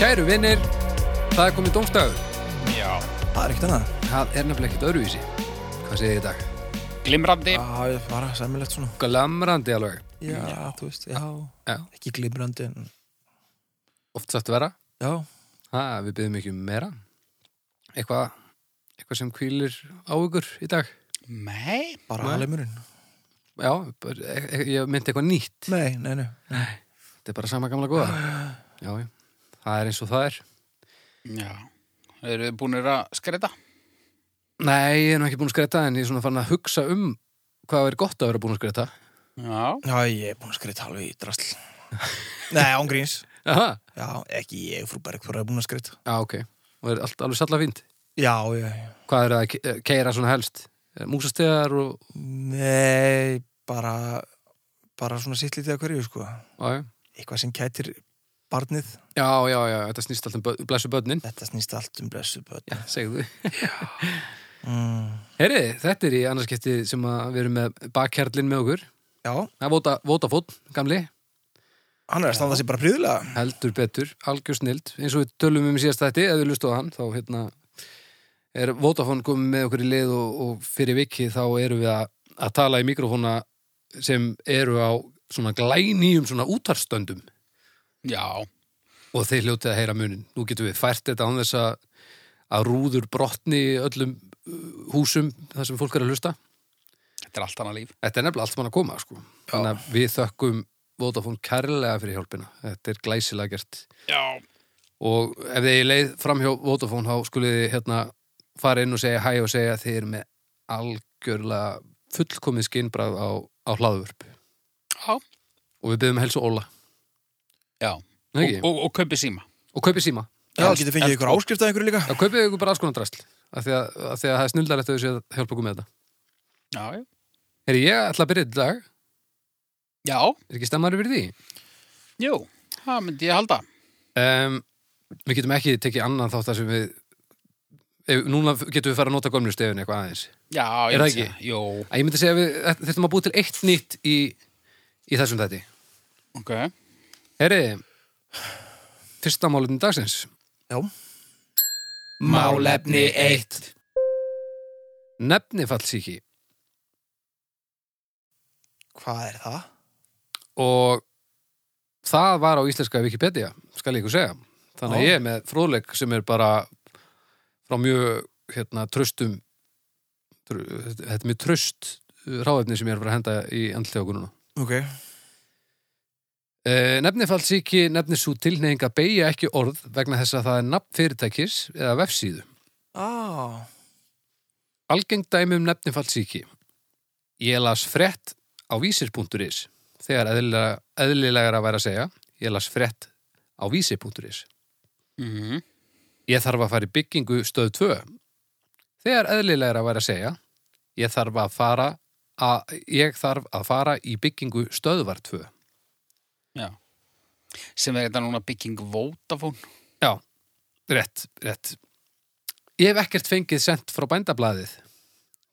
Kæru vinnir, það er komið domstagur. Já, Það er ekkert annað. Það er nefnilega ekkert öðruvísi. Hvað segir þið í dag? glimrandi Já, ég bara sæmilegt svona. Glamrandi alveg. Já, þú veist, já. Já. Ekki glimrandi en... Oft sagt vera. Já, Ha, við byrjum ekki um meira. Eitthvað, eitthvað sem kvílir á ykkur í dag. Nei, bara Nei. alemurinn. Já, bara- e- e- ég myndi eitthvað nýtt. Nei, nei, nei. Þetta er bara sama gamla góða. Já, já. Það er eins og það er. já Eru þið búinir að skreita? Nei, ég er nú ekki búin að skreita en ég er svona fann að hugsa um hvað er gott að vera búin að skreita. Já, Já, ég er búin að skritta alveg í drasl. nei, ángríns. Aha. Já, ekki ég, frú Bergþóra er búin að skritta. Já, ok. Og er allt alveg salla fínt. Já, já, já. Hvað er að keira svona helst? Músastegar og... Nei, bara, bara svona sitt lítið að hverju, sko. Já, já. Eitthvað sem kætir barnið. já, já, já, þetta snýst allt um bö- blessu börnin. Þetta snýst allt um blessu börn. Segðu. Mm. Herri, þetta er í annarskipti sem að við erum með bakkerlin með okkur. Já, Það er vóta, vótafótt, gamli, hann er að standa sér bara príðilega. heldur betur, algjör snild. Eins og við tölum um í síðast þetta, ef við lustu á hann, þá hérna er Vótafón komið með okkur í lið og, og fyrir vikið þá erum við að, að tala í mikrofóna sem eru á svona glænýjum svona útarstöndum. já, og þeir hljótið að heyra munin. Nú getum við fært þetta án þess að, að rúður brotni í öllum uh, húsum þar sem fólk er að hlusta. þetta er allt annað líf Þetta er nefnilega allt mann að koma, sko. Þannig að við þökkum Vodafone kærlega fyrir hjálpina. Þetta er glæsilega gert. Já, Og ef þið er leið framhjá Vodafone, þá skulið þið hérna fara inn og segja hæ og segja að þið eru með algjörlega fullkomið skinnbrað á, á hlaðvörp. já, Og við byggjum helst og Óla. já Nei, ekki? Og, og, og kaupi síma Og kaupið síma. Já, getur fengið ykkur áskrift að ykkur líka. Já, kaupið ykkur bara alls konar drasl af því að, af því að það er snildarlegt að þau séu að hjálpa okkur með þetta Já, já, Heri, ég ætla að byrja þetta í dag Er já, ekki stemmari fyrir því? jú, það myndi ég halda Um, við getum ekki tekið annan þátt þar sem við ef, Núna getum við fara að nota gömlu stefin eitthvað aðeins Já, Er það ég myndi ekki? segja- Jú, að Ég myndi segja að við þurfum að búi til eitt nýtt í, í þessum þætti ok Heri, fyrsta málefni dagsins Já. Málefni eitt Nefnifallsíki Hvað er það? og það var á íslenska Wikipedia, skal ég ykkur segja þannig að Já. ég er með fróðleik sem er bara frá mjög hérna, tröstum tr þetta er mjög tröst ráðefni sem ég er að fara að henda í andltegagununa Ok. e, Nefnifallsíki nefnir svo tilneying að beigja ekki orð vegna þess að það er nafn fyrirtækis eða vefsíðu Ah. Algeng dæmi um nefnifallsíki. Ég las frett á vísir.is þegar eðlilega, eðlilegar að vera að segja ég las frett á vísir.is mm -hmm. Ég þarf að fara í byggingu stöð 2 þegar eðlilegar að vera að segja ég þarf að fara að, ég þarf að fara í byggingu stöðvar 2 Sem er þetta núna bygging Vótafón Já, rétt, rétt Ég hef ekkert fengið sent frá bændablaðið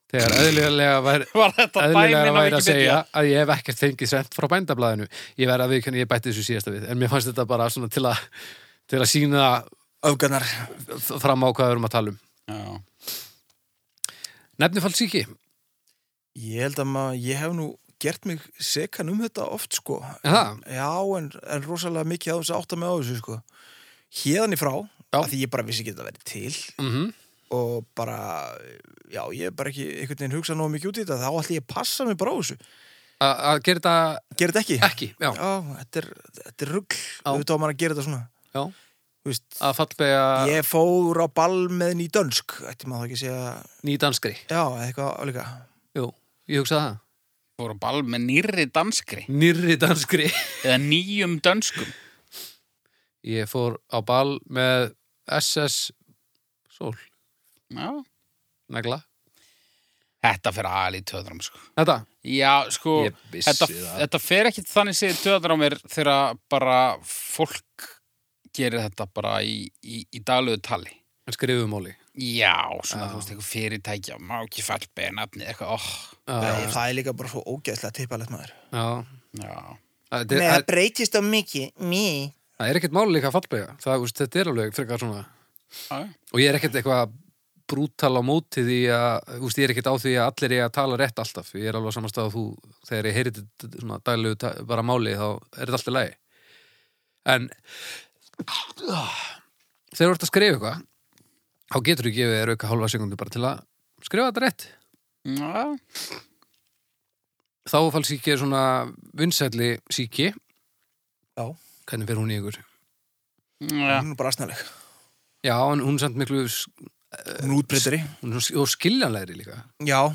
þegar eðlilega var, Var þetta eðlilega dæmin á væri að segja Wikipedia? að ég hef ekkert fengið sent frá bændablaðinu ég verð að viðkynna, ég bætti þessu síðasta við en mér fannst þetta bara svona til að til að sína Öfgarnar. fram á hvað við erum að tala um Já, Nefnifaldsíki, Ég held að maður, ég hef nú gert mig sekan um þetta oft, sko. er það? Já, en, en rosalega mikið á þess að átta mig á þessu, sko. Hérðan í frá, Já. af því ég bara vissi ekki að þetta verið til Mm og bara, já, ég er bara ekki einhvern veginn hugsað nógu mikið út í þetta, þá ætla ég að passa mig bara á þessu. Að gera þetta Gerði þetta ekki? ekki, já, Já, þetta er, þetta er rugl, auðvitað á maður að gera þetta svona. já. Þú veist, að fallbega ég fór á ball með ný dönsk, ætti maður þá ekki að segja, nýdanskri já, eitthvað álíka. Jú, ég hugsa það voru á ball með nýrri danskri Nýrri danskri Eða nýjum dönskum Ég fór á ball með SS Sól, Já, negla þetta fyrir aðal í töðrum sko Þetta, Já, sko, Ég vissi þetta, það. þetta fer ekki þannig séð töðar á mér þegar bara fólk gerir þetta bara í, í, í daglegu tali. en skrifum óli Já, svona, þú veist, eitthvað fyrirtækja, má ekki fallbega nafni, eitthvað, oh, óh, Nei, það er líka bara svo ógeðslega tippalegt maður. Já, já, Þetta er- breytist á mikið, mí. það er ekkert máli líka að fallbega það, úst, þetta er alveg frekar svona Já, já. og ég er ekkert eitthvað brútal á móti því að úst, ég er ekkert á því að allir ég að tala rétt alltaf ég er alveg á samastað að þú þegar ég heyri þetta svona daglegu ta- bara máli þá er þetta alltaf lægi en þegar þú ert að skrifa eitthvað þá getur þú gefið þér auka hálfa sekundu bara til að skrifa þetta rétt Já, þáfallsíki er svona vinsælli síki Já. hvernig fer hún í ykkur já. Hún er bara asnaleg. já, en hún er samt miklu s- Hún er útbreytari. hún er svo- og skiljanlegri líka Eh, Já.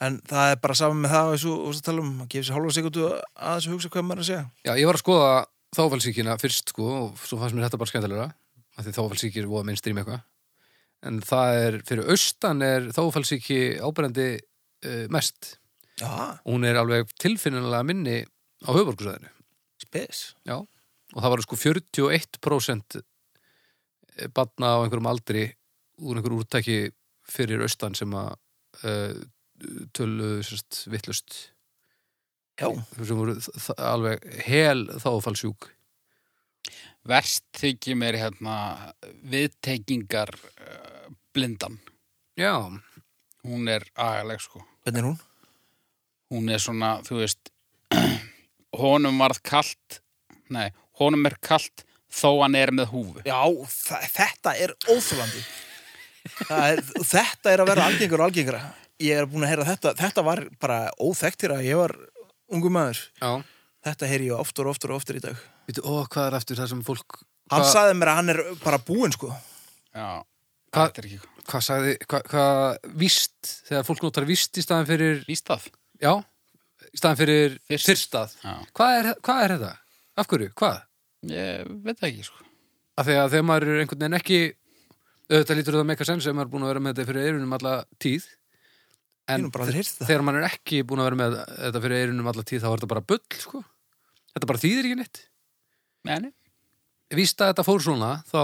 En það er bara saman með það eins og þú varst að tala um að gefa sér hálfa sekundu að þessu hugsa hvað maður er að segja. já, ég var að skoða þáfallsíkina fyrst sko og svo fannst mér þetta bara skemmtilega af því þáfallsíki er voða minnstrým eitthvað en það er, fyrir austan er þáfallsíki ábærandi uh, mest Já, og hún er alveg tilfinnilega minni á höfuborgsæðinu spes. Já, og það var sko 41% batna á einhverjum aldri úr einhverjum úrtæki fyrir austan sem að uh, tölu sérst vittlust Já. sem voru þ- alveg hel þáfallsjúk Verst þykir mér hérna viðtekingar uh, blindan. Já, Hún er agaleg sko. Hvernig er hún? Hún er svona, þú veist, honum varð kalt, nei, honum er kalt þó hann er með húfu. Já, þa- þetta er óþjólandi. Er, þetta er að vera algengur og algengara. Ég er búin að heyra þetta. Þetta var bara óþektir að ég var ungu maður. já Þetta heyri ég oftur og oftur og oftur í dag. Veitu, ó, hvað er eftir það sem fólk Hann Hva- sagði mér að hann er bara búinn sko. Já, Hva- þetta er ekki eitthvað. Hvað sagði, hvað, hvað víst þegar fólk notar víst í staðan fyrir Víst það? já, í staðan fyrir Fyrst. fyrstað Já, hvað er, hvað er þetta? Af hverju? Hvað? ég veit það ekki sko. af því að þegar maður er einhvern veginn ekki auðvitað lítur það meika sens ef maður er búin að vera með þetta fyrir eyrunum alla tíð Ég en nú bara aldrei heyrst það. þegar maður er ekki búin að vera með þetta fyrir eyrunum alla tíð þá er þetta bara bull sko. þetta bara þýðir ekki neitt Nei, nei. víst að þetta fór svona þá,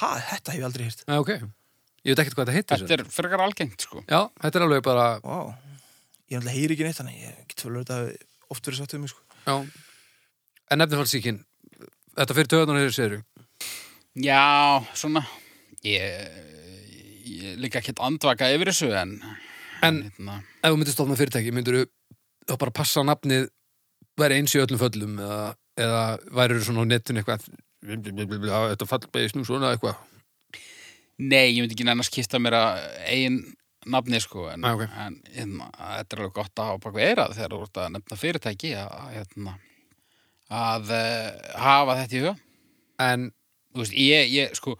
Ha, þetta hef ég aldrei heyrt. Nei, ok ég veit ekkert hvað þetta heitir Þetta er frekar algengt sko. já, þetta er alveg bara Vá. Ég náttúrulega heyri ekki neitt, þannig ég get fölur þetta hafi oft verið sagt um mig sko. já. en nefnifaldsíkin þetta fyrir töðunar hefur séru Já, svona, ég, ég líka ekkert andvaka yfir þessu en... En- hérna, ef þú myndir stofna fyrirtæki, myndir þú bara passa að nafnið væri eins í öllum föllum eða, eða væri svona á netinu eitthvað þetta fallbeis nú svona eitthvað Nei, ég myndi ekki nefn að skipta mér að eigin nafni sko en, Nei, ok. en hérna, þetta er alveg gott að hafa bak við eirað þegar þú ert að nefna fyrirtæki að, að, hérna, að eh, hafa þetta í huga en Þú veist, ég, ég, sko,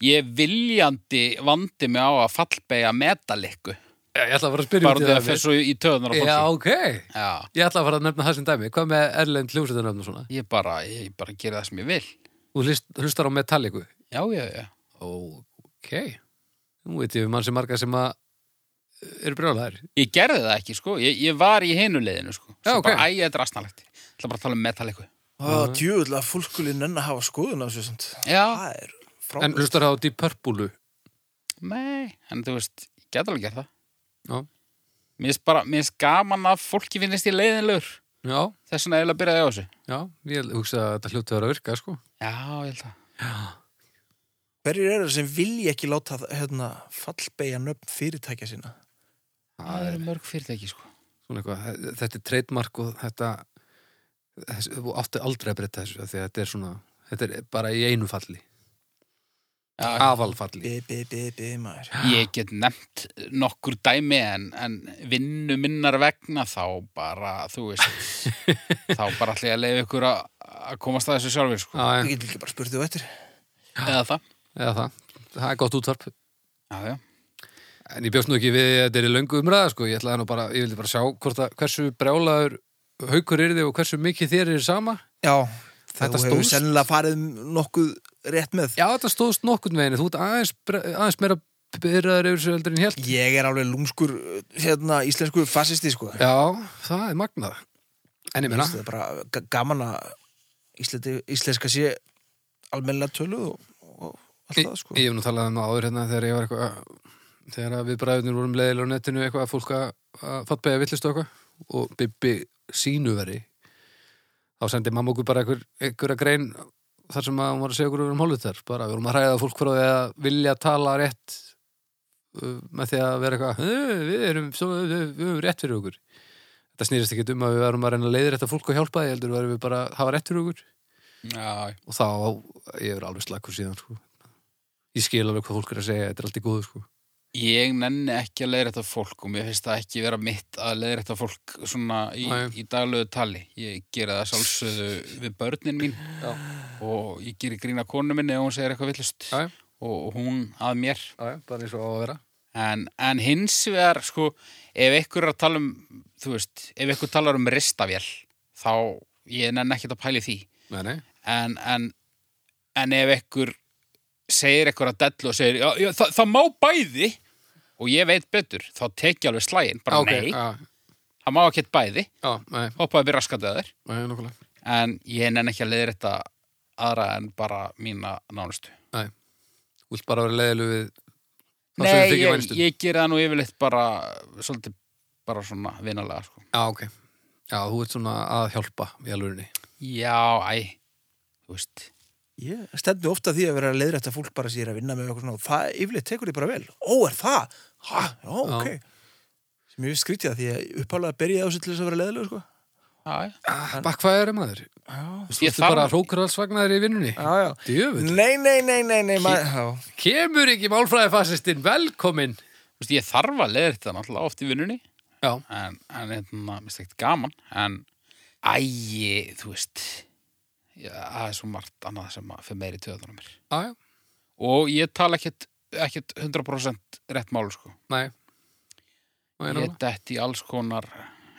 ég viljandi vandi mig á að fallbega metalikku ég ætla að fara að spyrja bara út í þegar það fyrir svo í töðunar á já, fólki ok, Já, ég ætla að fara að nefna það sem dæmi hvað með erlend hljómsveitarnöfn og svona ég bara, ég bara gera það sem ég vil þú hlust, hlustar á Metallicu Já, já, já ok, nú veit ég um mann sem marga sem að eh, eru brjólaðar Ég gerði það ekki, sko, ég, ég var í hinu leiðinu sko. Svo Já, ok. bara, æ, ég er drastnalegt Það er bara að tala um metalikku Ó, djúvill að fólkulinn enn að hafa skoðun á þessu samt. Já, Það er en frábært. hlustar á Deep Purple Nei, en þú veist, ég get alveg gert það. Já. Mér finnst bara, mér finnst gaman að fólki finnist í leiðinlegur. já, Þess vegna eiginlega byrjaði ég á þessu. já, ég hugsa að þetta hljóti að vera að virka sko. Já, ég held það. Hverjir eru það sem vilja ekki láta hérna, fallbeigja nöfn fyrirtækja sína? Það eru mörg fyrirtæki, sko. svona eitthvað, þetta er trademark og þetta þess, þú átti aldrei að breyta þessu af því að þetta er svona, þetta er bara í einu falli Já, afalfalli Bi, bi, bi, bi, maður. ég get nefnt nokkur dæmi en, en vinnu minnar vegna þá bara, þú veist, þá bara ætla ég að leiða ykkur að að komast að þessu sjálfur, sko. Já, Ég já, get líka bara spurt þú eftir. Eða það. eða það, það er gott útvarp Já, já. en ég bjóst nú ekki við að þetta er í löngu umræða sko, ég ætlaði nú bara, ég vildi bara sjá hvort að hversu brjálaður haukur er þið og hversu mikið þér er sama Já, Þetta þú hefur stóðst. sennilega farið nokkuð rétt með. já, þetta stóðst nokkurn veginn, þú ert aðeins, bre- aðeins meira byrjaður yfir sér heldur en ég held Ég er alveg lúmskur hérna, íslensku fasisti, sko. já, það er magnað en ég meina, Það er bara g- gaman að ísleti, íslenska sé almennilega töluð og, og allt Ég- það, sko. Ég hef nú talað um það áður hérna þegar ég var eitthvað þegar að við bræðunir vorum leiðilega á netinu eitthvað að fólk að, að fattbæja villist og eitthvað og Bibbi sínuveri þá sendi mamma okkur bara einhver, einhverja grein þar sem að hún var að segja okkur um hálfutar bara við vorum að hræða fólk frá því að vilja tala rétt uh, með því að vera eitthvað "Eh, við erum, svo, við, við erum rétt fyrir okkur þetta snýrist ekki um að við verum að reyna að leiðir þetta fólk og hjálpa því heldur verum við bara að hafa rétt fyrir okkur Já, og þá, ég er alveg slakur síðan sko. ég skil alveg hvað fólk er að segja þetta er allt í góðu sko. ég nenni ekki að leiðrætta fólk og mér finnst það ekki vera mitt að leiðrætta fólk svona í, Nei. í daglegu tali. Ég gera það sálsöðu við börnin mín Já. og ég geri grína konu minni ef hún segir eitthvað villust já, já, og hún að mér. já, bara eins og á að vera En, en hins vegar, sko, ef einhver er að tala um, þú veist, ef einhver talar um ristavél, þá ég nenni ekkert að pæli því. nei, nei. en, en, en ef ekkur segir ekkur að dellu og segir já, já, það, það má bæði og ég veit betur, þá tek ég alveg slægin bara Já, ok, nei, já, það má ekki bæði já, nei, hoppaði við raskat að þér nei, nokkulega en ég nenn ekki að leiðir þetta aðra en bara mína nánustu Nei, þú vilt bara vera leiðileg við það sem þið Nei, þykir ég, vænstum. ég geri það nú yfirleitt bara svolítið bara svona vinalega sko. Já, ok. Já, þú ert svona að hjálpa í alvörinni. Já, æ, þú veist Ég stendur ofta því að vera að leiðrætta fólk bara sér að vinna með okkur svona og það yfirleitt tekur því bara vel. Ó, er það? Ha, já, ok. Sem ég skrítið að því að uppálega byrjaði á þessu til þess að vera leiðilega, sko. Já, já. Ah, Bakkvæðari maður. Já, Þú Ég ert bara þarf- hrókurhalsvagnar í vinnunni. já, já. Djöfull. Nei, nei, nei, nei, nei, maður, já. Kemur ekki málfræðifasistinn, velkomin. Þú veist, ég þarf að leiðir þetta náttúrulega oft í vinnunni Já, en, en hérna, mér stækt gaman en ægi, þú veist já, það er svo margt annað sem að fyrir meiri töðan á mér já, já. og ég tala ekkit, ekkit 100% rétt mál sko, Nei. Nei, ég nála. detti í alls konar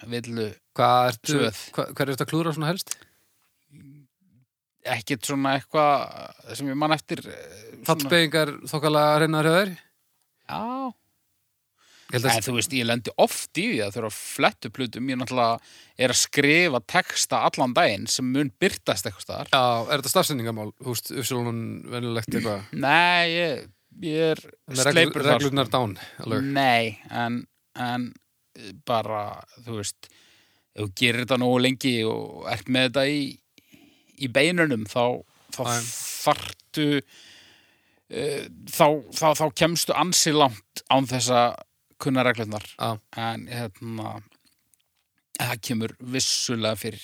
villu, Hvað ertu, Svöð. hvað, hvað er þetta að klúra svona helst? ekkit svona eitthvað sem ég man eftir eh, svona- Fallbeigingar þokkalega reynar höður? já, Ég held en að, þú veist, ég lendi oft í því að þurfa að flettu plutum, ég náttúrulega er að skrifa texta allan daginn sem mun byrtast eitthvað staðar já, er þetta starfsendingamál? Húst, uppsjónun venjulegt eitthvað? Nei, ég, ég er Mm. sleipur þar, sko. Reglurnar dán, alveg. Nei, en, en eh, bara, þú veist ef þú gerir þetta nógu lengi og ert með þetta í, í beinunum þá, þá Æ. þartu uh, þá, þá, þá kemstu ansi langt án þess að kunna reglurnar Já. en hérna það kemur vissulega fyrir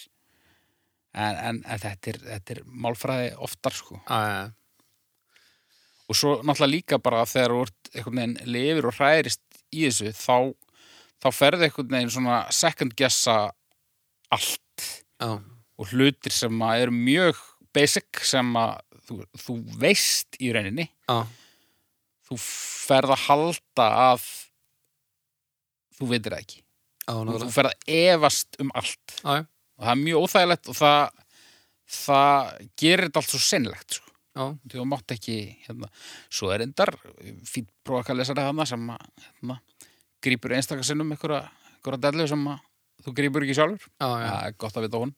en, en, en þetta, er, þetta er málfræði oftar sko Já, já, já. og svo náttúrulega líka bara þegar þú ert einhvern veginn lifir og hræðist í þessu þá, þá ferði einhvern veginn svona second guessa allt Já, og hlutir sem að eru mjög basic sem að þú, þú veist í rauninni já, þú ferð að halda að þú veitir það ekki já, og nála. þú ferð að efast um allt Já, já. og það er mjög óþægilegt og það það gerir þetta allt svo sinnlegt sko. Já. þú mátt ekki hérna. svo er endar fín prófakalesari hana sem að, hérna, grípur einstakarsinnum einhverja, einhverja dellu sem að þú grípur ekki sjálfur Já, já. það er gott að vita hún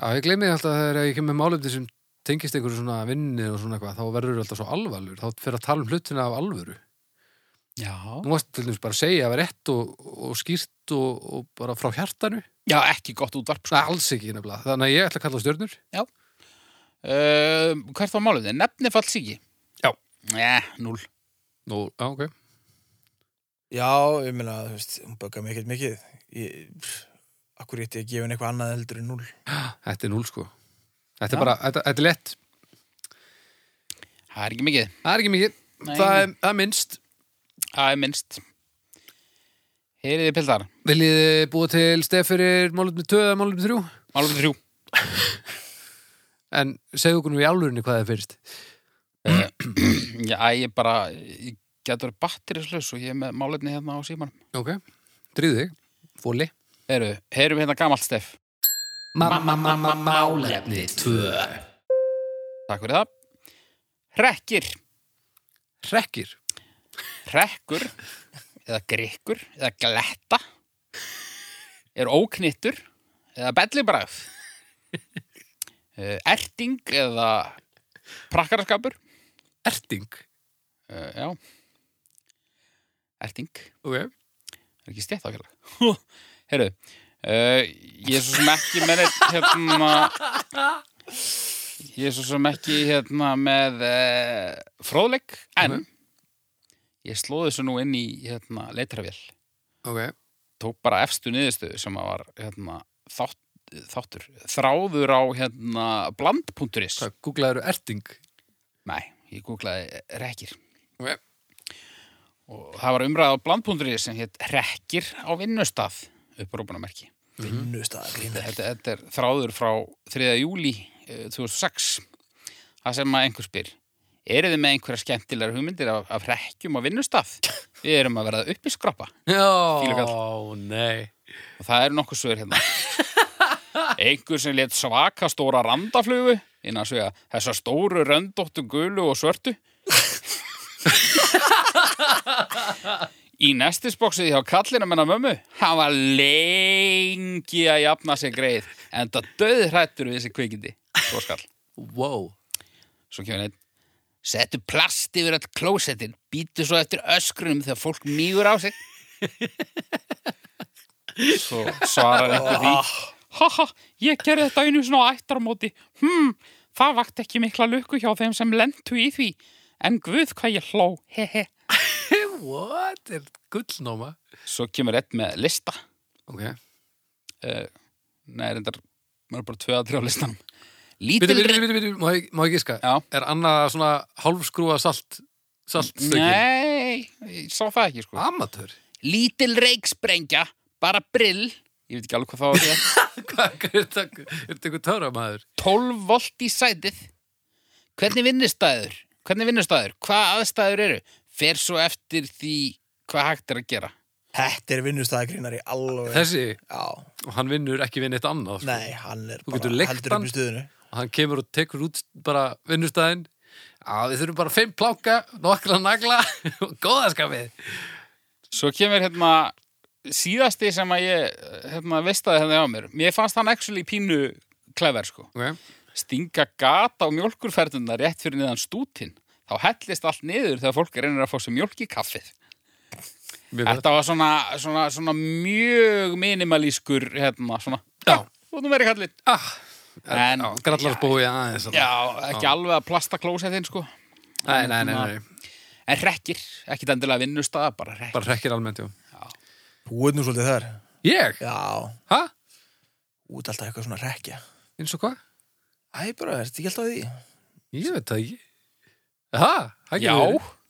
Já, ég gleymi því alltaf þegar ég kem með málefni sem tengist einhverju svona vinni og svona eitthvað, þá verður alltaf svo alvarlur, þá fyrir að tala um hlutina af alvöru. já. Nú varst til dæmis bara að segja að vera rétt og, og skýrt og, og bara frá hjartanu. ekki gott útvarp Nei, sko. alls ekki nefnilega. Þannig að ég ætla að kalla á stjörnur. uh, hvert var málið? Eh, nefni fall síki Já. Né, núl Nú, já, ok. Já, ég meina, þú veist, hún böggar mig ekkert mikið. Ég, pff, akkur ég ætti að gefa henni eitthvað annað heldur en núl. Þetta er núl, sko. Þetta Já. er bara, þetta, þetta er lett. það er ekki mikið Það er ekki mikið. Nei. Það er, það er minnst. það er minnst heyriði pildar Viljið þið búa til stef fyrir málefni 2 eða málefni 3? málið þrjú En segðu okkur nú í alvörunni hvað það er fyrst. já, ég bara ég getur batterislaus og ég er með málefni hérna á símanum Ok. Dríðu þig. Fóli. Heru, heyrum hérna gamalt stef Málefni 2. Takk fyrir það Hrekkir, Rekkir. hrekkur eða grikkur eða gletta er óknittur eða bellibræð erting eða prakkaraskapur Erting Eh, já erting okay. er ekki stett ákjörlega Herru, uh, ég er svo sem ekki með neitt hérna Ég er svo sem ekki hérna með e, fróðleik, en ég slóði þessu nú inn í hérna, leitravél. ok, Tók bara efstu niðurstöðu sem að var hérna, þátt, þáttur. Þráður á hérna, bland.is. hvað, googlaður erting Nei, ég googlaði rekkir. Ok. Og það var umræða á bland.is sem hétt rekkir á vinnustaf, upprópunamerki. Mhm. vinnustæðagrín Þetta, þetta er þráður frá eh, 3. júli 2006. Það sem að einhver spyr. Eru þið með einhverja skemmtilegar hugmyndir af, af rekkjum á vinnustaf? Við erum að verða upp í skrappa. Já, nei Og það eru nokkuð svör hérna. Einhver sem let svaka stóra randaflugu innan svega þessa stóru röndóttu gulu og svörtu. Í nestisboksið hjá kallinu menna mömmu, hann var lengi að jafna sér greið, en það döði hrættur við þessi kvikindi. Svo skall. Wow Svo kemur einn Settu plast yfir all klósettin Býtu svo eftir öskrunum þegar fólk mýgur á sig Svo svarar einhver því Haha, ég gerði þetta einu svona á ættarmóti Hmm, það vakt ekki mikla lukku hjá þeim sem lentu í því En guð hvað ég hló, hehe What, er gullnóma Svo kemur einn með lista Ok, uh, Nei, reyndar, maður er bara tvö að þrjá listanum byrju, Lítil byrju, byrju, byrju, má ég- má ég giska Já. Er annað svona hálfskrúa salt Saltstökin Nei, ég sá það ekki sko Amatör lítil reiksprengja, bara brill, ég veit ekki alveg hvað það var að segja, Hvað, hvað er þetta er þetta einhver töframæður? 12 volt í sætið, hvernig vinnustæður, hvernig vinnustæður, hvað aðstæður eru, fer svo eftir því hvað hægt er að gera. Þetta er vinnustæðagrínar í alveg Þessi, Já, og hann vinnur ekki vinn eitt annað sko. nei, hann er Þú getur leikt heldur hann. upp í stuðinu og hann kemur og tekur út bara vinnustæðin að við þurfum bara fimm pláka, nokkra nagla og góðaskapið Svo kemur hérna síðasti sem að ég hérna, veistaði hérna á mér, mér fannst hann actually pínu klever sko. okay. Stinga gata á mjólkurferðuna rétt fyrir niðan stútin, þá hellist allt niður þegar fólk reynir að fá sér mjólk í kaffið. Mjög gott. Þetta var svona, svona, svona mjög minimalískur hérna, svona, Já. þú erum verið kallinn ah, En, já, Grallarsbói aðeins já, ekki alveg að plasta klósettin, sko nei, nei, nei, nei, En rekkir, ekkit endilega vinnustaða, bara rekkir bara hrekkir almennt já. Þú er nú svolítið þar Ég? Já, Hæ? út alltaf eitthvað svona rekja Eins og hvað? Æ, bara, ertu ekki alltaf að því? Ég veit það ekki Hæ? Hæ? Já.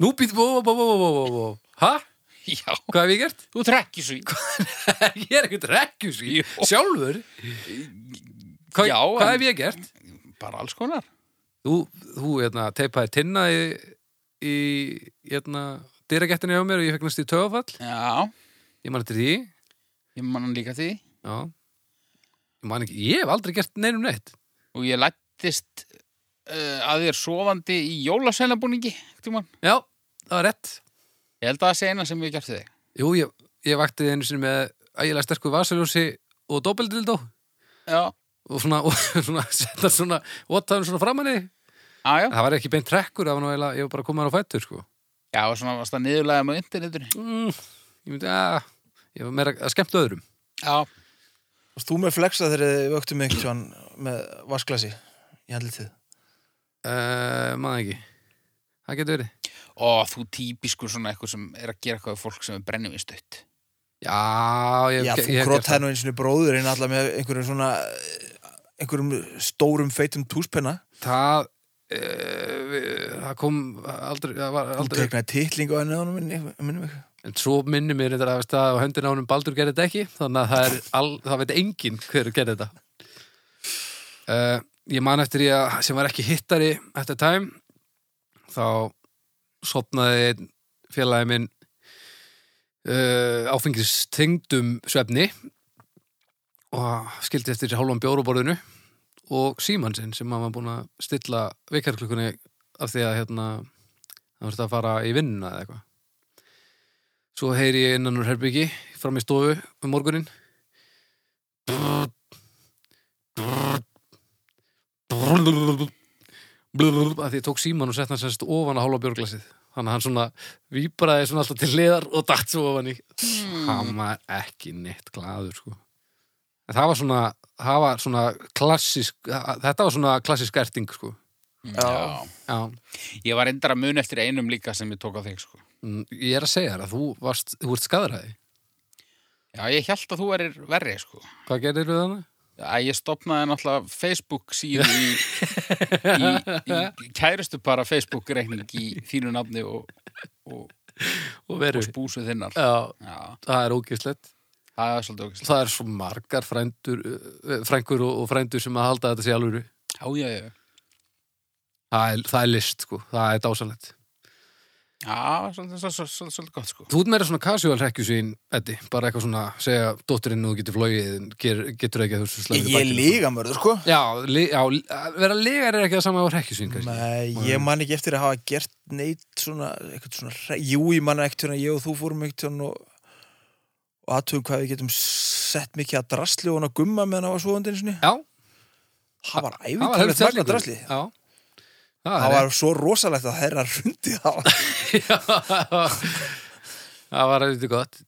Nú býtt bó, bó, bó, bó, bó, bó Hæ? Já, Hvað hef ég gert? þú trekkir svo ég er ekkert rekkjus í Jú. Sjálfur? Hva, Já, hvað en- hef ég gert? Bara alls konar þú, þú hérna, teipaði tinna í, í hérna, dyragettinu hjá mér og ég fekk næst í tögafall Já, ég man eftir því já. ég man hann líka því ég man ekki, ég hef aldrei gert neinum neitt Og ég lættist uh, að þér sofandi í jólasveinabúningi tímann. já, það var rétt Ég held að það sé eina sem við gerti þig jú, ég, ég vakti einu sinni með ægilega sterku vasaljósi og dobeldildó Já, og svona, og svona setja svona, vottaðum svona framanni á, já, það var ekki beint trekkur, það var nú eiginlega- ég var bara að koma þar á fættur sko. já, og svona varst það niðurlega með internetinu mm, ég myndi að ég var meira að skemmta öðrum Já, Varst þú með flexa þegar þið vöktum mig tjón, með vasklasi í handlitið? uh, maður ekki það getur verið og þú típiskur svona eitthvað sem er að gera eitthvað við fólk sem er brennivinstutt Já, ég, Já, ég, þú ég grótaði nú eins og bróðurinn alltaf með einhverjum svona eh, einhverjum stórum feitum túspenna það e, það kom aldrei, það var Þú aldrei teknaði titling á henni á minni, minni mig. en svo minni mér þetta að veist það á höndin á honum Baldur gerði þetta ekki þannig að það, er all, það veit enginn hver gerði þetta uh, ég man eftir ég að sem var ekki hittari eftir tæm þá sopnaði einn félagi minn uh, áfengistengdum svefni og skildi eftir sér hálfan bjóruborðinu og símann sinn sem hann var búin að stilla vikarklukkunni af því að hérna hann verður að fara í vinnuna eða eitthvað Svo heyri ég innan úr herbyggi fram í stofu um morgunin að því ég tók síman og sett hann semst ofan að hálfa björglasið þannig að hann svona víbraði svona alltaf til hliðar og datt svo ofan í hann var ekki neitt glaður sko En það var svona, það var svona klassisk, þetta var svona klassisk erting, sko. Já. Já, Mm, Ég var endara mun eftir einum líka sem ég tók á þig, sko. Mm, ég er að segja þér að þú varst, þú ert skadraði. Já, ég held að þú erir verri, sko. Hvað gerir við þannig? Æ, ég stopnaði náttúrulega Facebook síðu í, í, í kærustu bara Facebook reikning í þínu nafni og, Og og, og veru. spúsu þinnar. Já, Já, það er ógislegt. það er svolítið okkur. Það er svo margar frændur, eh, frængur og, og frændur sem að halda þetta sé alvöru. Já, já, já. Það er, það er list, sko. Það er dásalegt. Já, svolítið, svolítið, svolítið, svolítið gott, sko. Þú ert meira svona casual hrekkjusvín, Eddi. Bara eitthvað svona, segja dótturinn nú getur flogið, en ger, getur ekki að þú svo Ég, ég er lígamörður, sko. Já, li, já, li- að vera lígar er ekki það sama á hrekkjusvín, kannski. Nei, ég man ekki eftir að hafa gert neitt svona, eitthvað svona, hre- jú, ég man ekkert hérna, ég og þú fórum ekkert hérna og, og aðtöfum hvað við getum sett mikið að drasli og hann að gumma með hann að var svoðandi einu sinni. Já, Það það var var æfintilegt magna helvítið drasli. Já. Það, Það er var svo rosalegt að þeirra hrundi það. var- það var eitthvað gott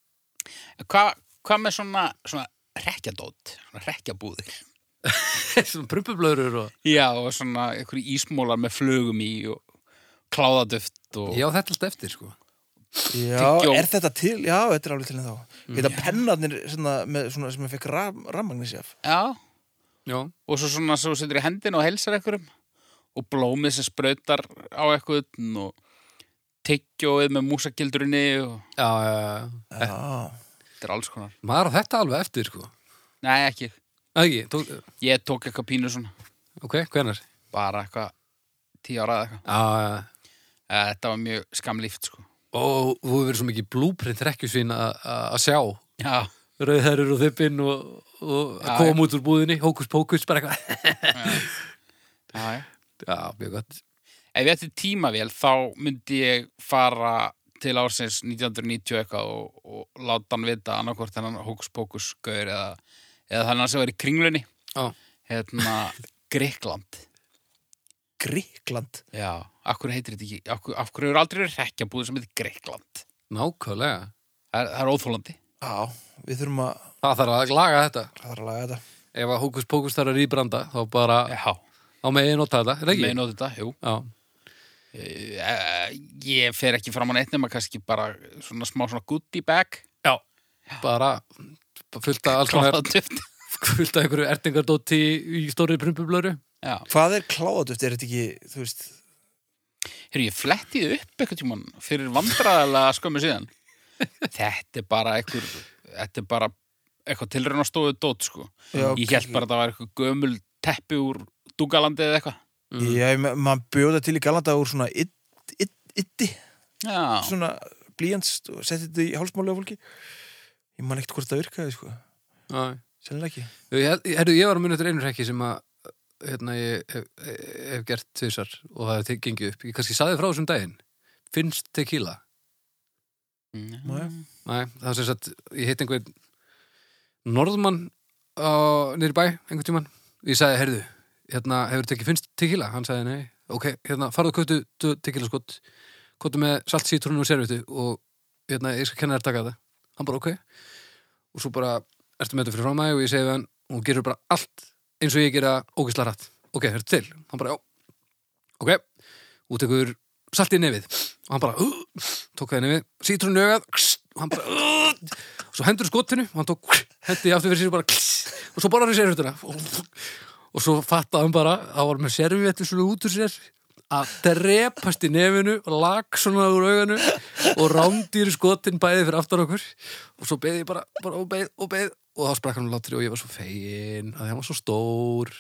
Hvað hva með svona, svona rekjadót, svona rekjabúðir? svona prumpublöður og... Já, og svona einhverju ísmólar með flugum í og kláðadöft og... já þetta er alltaf eftir sko Já, Tyggjó. er þetta til? Já, þetta er alveg til en þá. Þetta pennarnir svona, með, svona, sem ég fekk ram, rammagnis af. Já, já, og svo svona svo setur í hendina og helsar einhverjum og blómið sem sprautar á eitthvað og tyggjóið með músakildurinni og já, já, já. Eh. Já, þetta er alls konar maður á þetta alveg eftir sko Nei, ekki, Eða ekki, tók, ég tók eitthvað pínu svona ok, hvenar já, bara eitthvað tíu ára eða eitthvað já, já. Eh, Þetta var mjög skamlíft sko og þú hefur verið svo mikið blúprint rekkjusvín að að sjá Já, rauðherrur og þippinn og, og Já, að koma út úr búðinni, hókus pókus bara eitthvað, já, já já, mjög gott Ef ég ætti tímavél þá myndi ég fara til ársins 1990 eitthvað og, og láta hann vita annarkvort hennan hókus-pókus-gaur eða, eða þannig sem var í kringlunni Já. hérna Greikland Gríkland. Já, af hverju heitir þetta ekki af hverju, af hverju eru aldrei verið rekjabúður sem heitir Greikland nákvæmlega, Það er, það er óþólandi Já, við þurfum að, það þarf að laga þetta það þarf að laga þetta. ef að hókus pókus þarf að rýbranda þá bara Já, á megin nota þetta, er það ekki? meðin á þetta, jú Já, Eh, Ég fer ekki fram á neitt nema kannski bara svona smá svona goodie bag Já, bara fullt af alls konar kláðatöft fullt af einhverju ertingardóti í stóri prumpublöru Já, Hvað er kláðatöft? Er þetta ekki, þú veist, Heyrðu, ég fletti þið upp eitthvað tímann fyrir vandræðalega skömmu síðan. þetta er bara einhver, þetta er bara eitthvað tilraun að stóðu dót, sko. Já, ég held bara að það var eitthvað gömul teppi úr Dúgalandi eða eitthvað. Mm. Já, ég me- maður bjóða til í galanda úr svona ydd- ydd- yddi, Já, svona blíjans og setti þetta í hálsmálega fólki Ég man ekkert hvort það virkaði, sko Herru, Sennilega ekki ég var að muni eftir einu rekki sem að hérna, ég hef, hef gert tvisar og það hefur gengið upp ég kannski saði frá þessum daginn finnst tequila Nei. Nei, það sem sagt, ég hitt einhvern norðmann á, niður í bæ, einhvern tímann ég sagði, herðu, hérna, hefur tekið finnst tequila? Hann sagði, nei, ok, hérna, farðu og kautu tvö tequila skott kóttu með salt, sítrún og servitu og hérna, ég skal kenna þér að taka það hann bara, ok og svo bara, ertu með þetta fyrir frá mig og ég segi við hann og hún gerur bara allt eins og ég gera ógisla rætt ok, hörðu til, hann bara, já ok, og tekur salt í nefið og hann bara, uh, tók það í nefið sítrún í augað, kss, og hann bara uh, svo hendur skotinu og hann tók hendi aftur fyrir sér og bara kss, og svo borðar hann sér hérna og svo fattaði hann bara að var með servietu svona út úr sér að drepast í nefinu og lag svona úr auganu og rándýri skotin bæði fyrir aftan okkur og svo beði ég bara, bara og beið og beið og þá sprakk hann úr látri og ég var svo fegin að hann var svo stór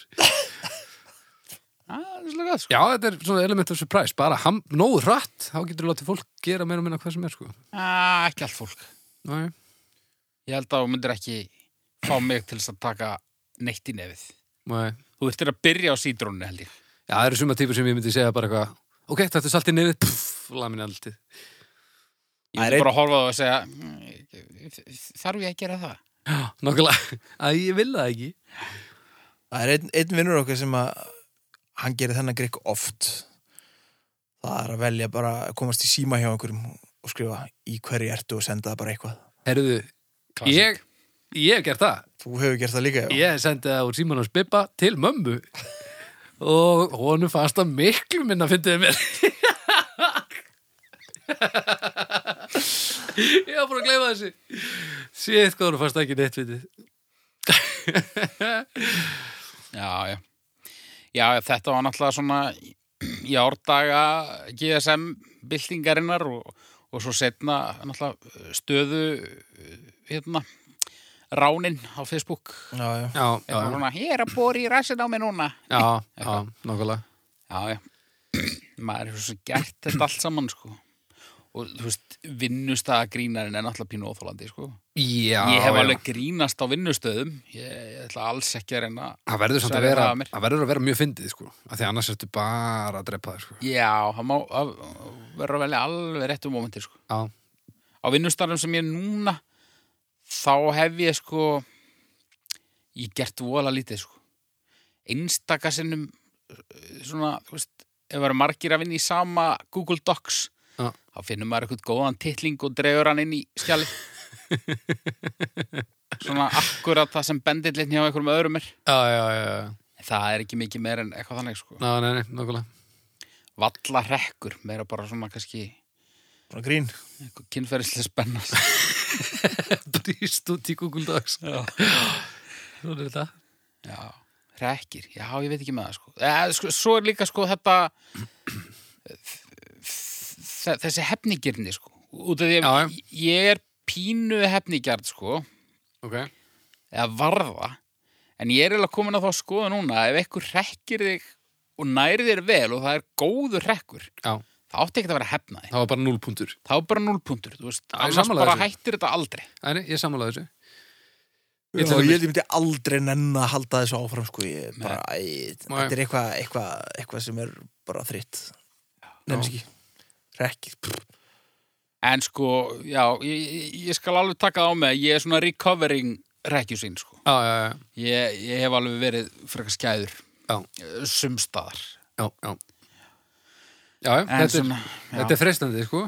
það er svolítið gott, sko. já þetta er svona element of surprise bara ham, nógu hratt, þá getur þú látið fólk gera meira og minna hvað sem er sko Já, ekki allt fólk. Nei. Ég held að þú myndir ekki fá mig til þess að taka neitt í nefið. Nei. Þú ert að byrja á sídrónni, held ég. Já, það eru suma típur sem ég myndi segja bara eitthvað Ok, þetta er saltið nefið, pff, laminni alltið Ég Það er myndi bara að horfa á það og segja, "Mm, þarf ég að gera það? Nákvæmlega, að ég vil það ekki Það er einn, einn vinnur okkar sem að hann gerir þennan grikk oft Það er að velja bara að komast í síma hjá einhverjum og skrifa í hverju ertu og senda það bara eitthvað Herðu, Klassik. ég Ég hef gert það. Þú hefur gert það líka, já. Ég sendi það úr síman hans Bibba til mömmu og honum fannst það miklu minna að fyndið mér. Ég var búin að gleyma þessi. Sétt hvað honum fannst ekki neitt fyndið. Já, já. Já, þetta var náttúrulega svona í árdaga GSM-byltingarinnar og, og svo setna náttúrulega stöðu hérna ránin á Facebook. Já, já. Já, já, Eitthvað svona, hér að bóri í ræsin á mig núna. já, já, nokkulega. Já, já. Maður er svo sem gert þetta allt saman, sko. Og þú veist, vinnustæða grínarin er náttúrulega pínu óþólandi, sko. Já, ég hef já. alveg grínast á vinnustöðum. Ég, ég ætla alls ekki að reyna. Það verður samt að Sverrir vera, það að mér. það verður að vera mjög fyndið, sko. Af því annars ertu bara að drepa þér, sko. Já, það má að, vera að velja alveg réttum momentir, sko. Já, á vinnustarfum sem ég er núna þá hef ég sko ég gert vola lítið sko einstaka sinnum eh, svona, þú veist, ef verður margir að vinna í sama Google Docs Já. þá finnum maður eitthvað góðan titling og dregur hann inn í skjali svona akkurat það sem bendillinn hjá einhverjum öðrum er já, já, já, já. En það er ekki mikið meir en eitthvað þannig sko Ná, nei, nei, nokkulega. valla hrekkur, meira bara svona kannski Svona grín. eitthvað kynferðislega spennast Brýst út í Google Docs. Já. Svona er þetta. Já, rekkir, já, ég veit ekki með það sko. Eða, sko svo er líka sko þetta þ- þessi hefnigirni sko. Út af því Já, já. að ég er pínu hefnigjart sko, Ok. eða varða en ég er eiginlega komin að þá að skoða núna að ef einhver rekkir þig og næri þér vel og það er góður rekkur Já, það átti ekki að vera hefnaði. það var bara 0 púntur. Það er bara núlpuntur, þú veist, Já, ég annars sammála bara þessu. hættir þetta aldrei. Æri, ég samanlega þessu. Já, Ég ég til held dæmis- ég myndi aldrei nenn að halda þessu áfram, sko. Ég bara, æ, Nei. þetta er eitthvað eitthva, eitthva sem er bara þritt. Nefnst ekki. Rekki. pff. En sko, já, ég, ég skal alveg taka það á mig að ég er svona recovering rekkjusinn sko. Já, já, já, Ég, ég hef alveg verið frekar skæður eh, Já. sumstaðar já, já. Já, já, en þetta, sem, er, já, þetta er freistandi, sko.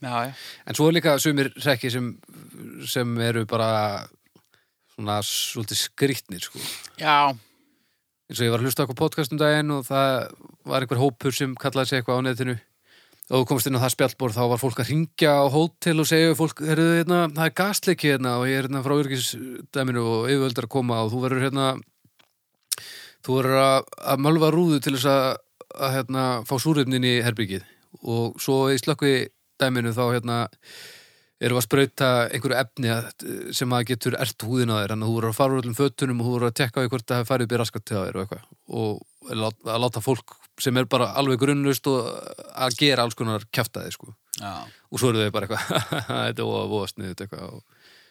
já, já, En svo er líka sumir rekki sem, sem eru bara svona svolítið skrýtnir, sko. já, eins og ég var að hlusta okkur podcast um daginn og það var einhver hópur sem kallaði sig eitthvað á netinu og þú komst inn á það spjallbór þá var fólk að ringja á hótel og segja við fólk, heyrðu hérna, það er gasleiki hérna og ég er hérna frá yrkisdæminu og yfirvöldar að koma og þú verður hérna þú verður að, að mölva rúðu til þess að, að hérna, fá súrefnin í herbyggið og svo í slökkvi dæminu þá hérna erum við að sprauta einhverju efni að- sem að getur ert húðina þér en þú voru að fara úr öllum fötunum og þú voru að tekka á því hvort það hefur farið upp í raskat til þér og eitthvað og lát- að láta fólk sem er bara alveg grunnlaust og að gera alls konar kjaftaði sko já, og svo eru þau bara eitthvað þetta er voða voða sniðut eitthvað og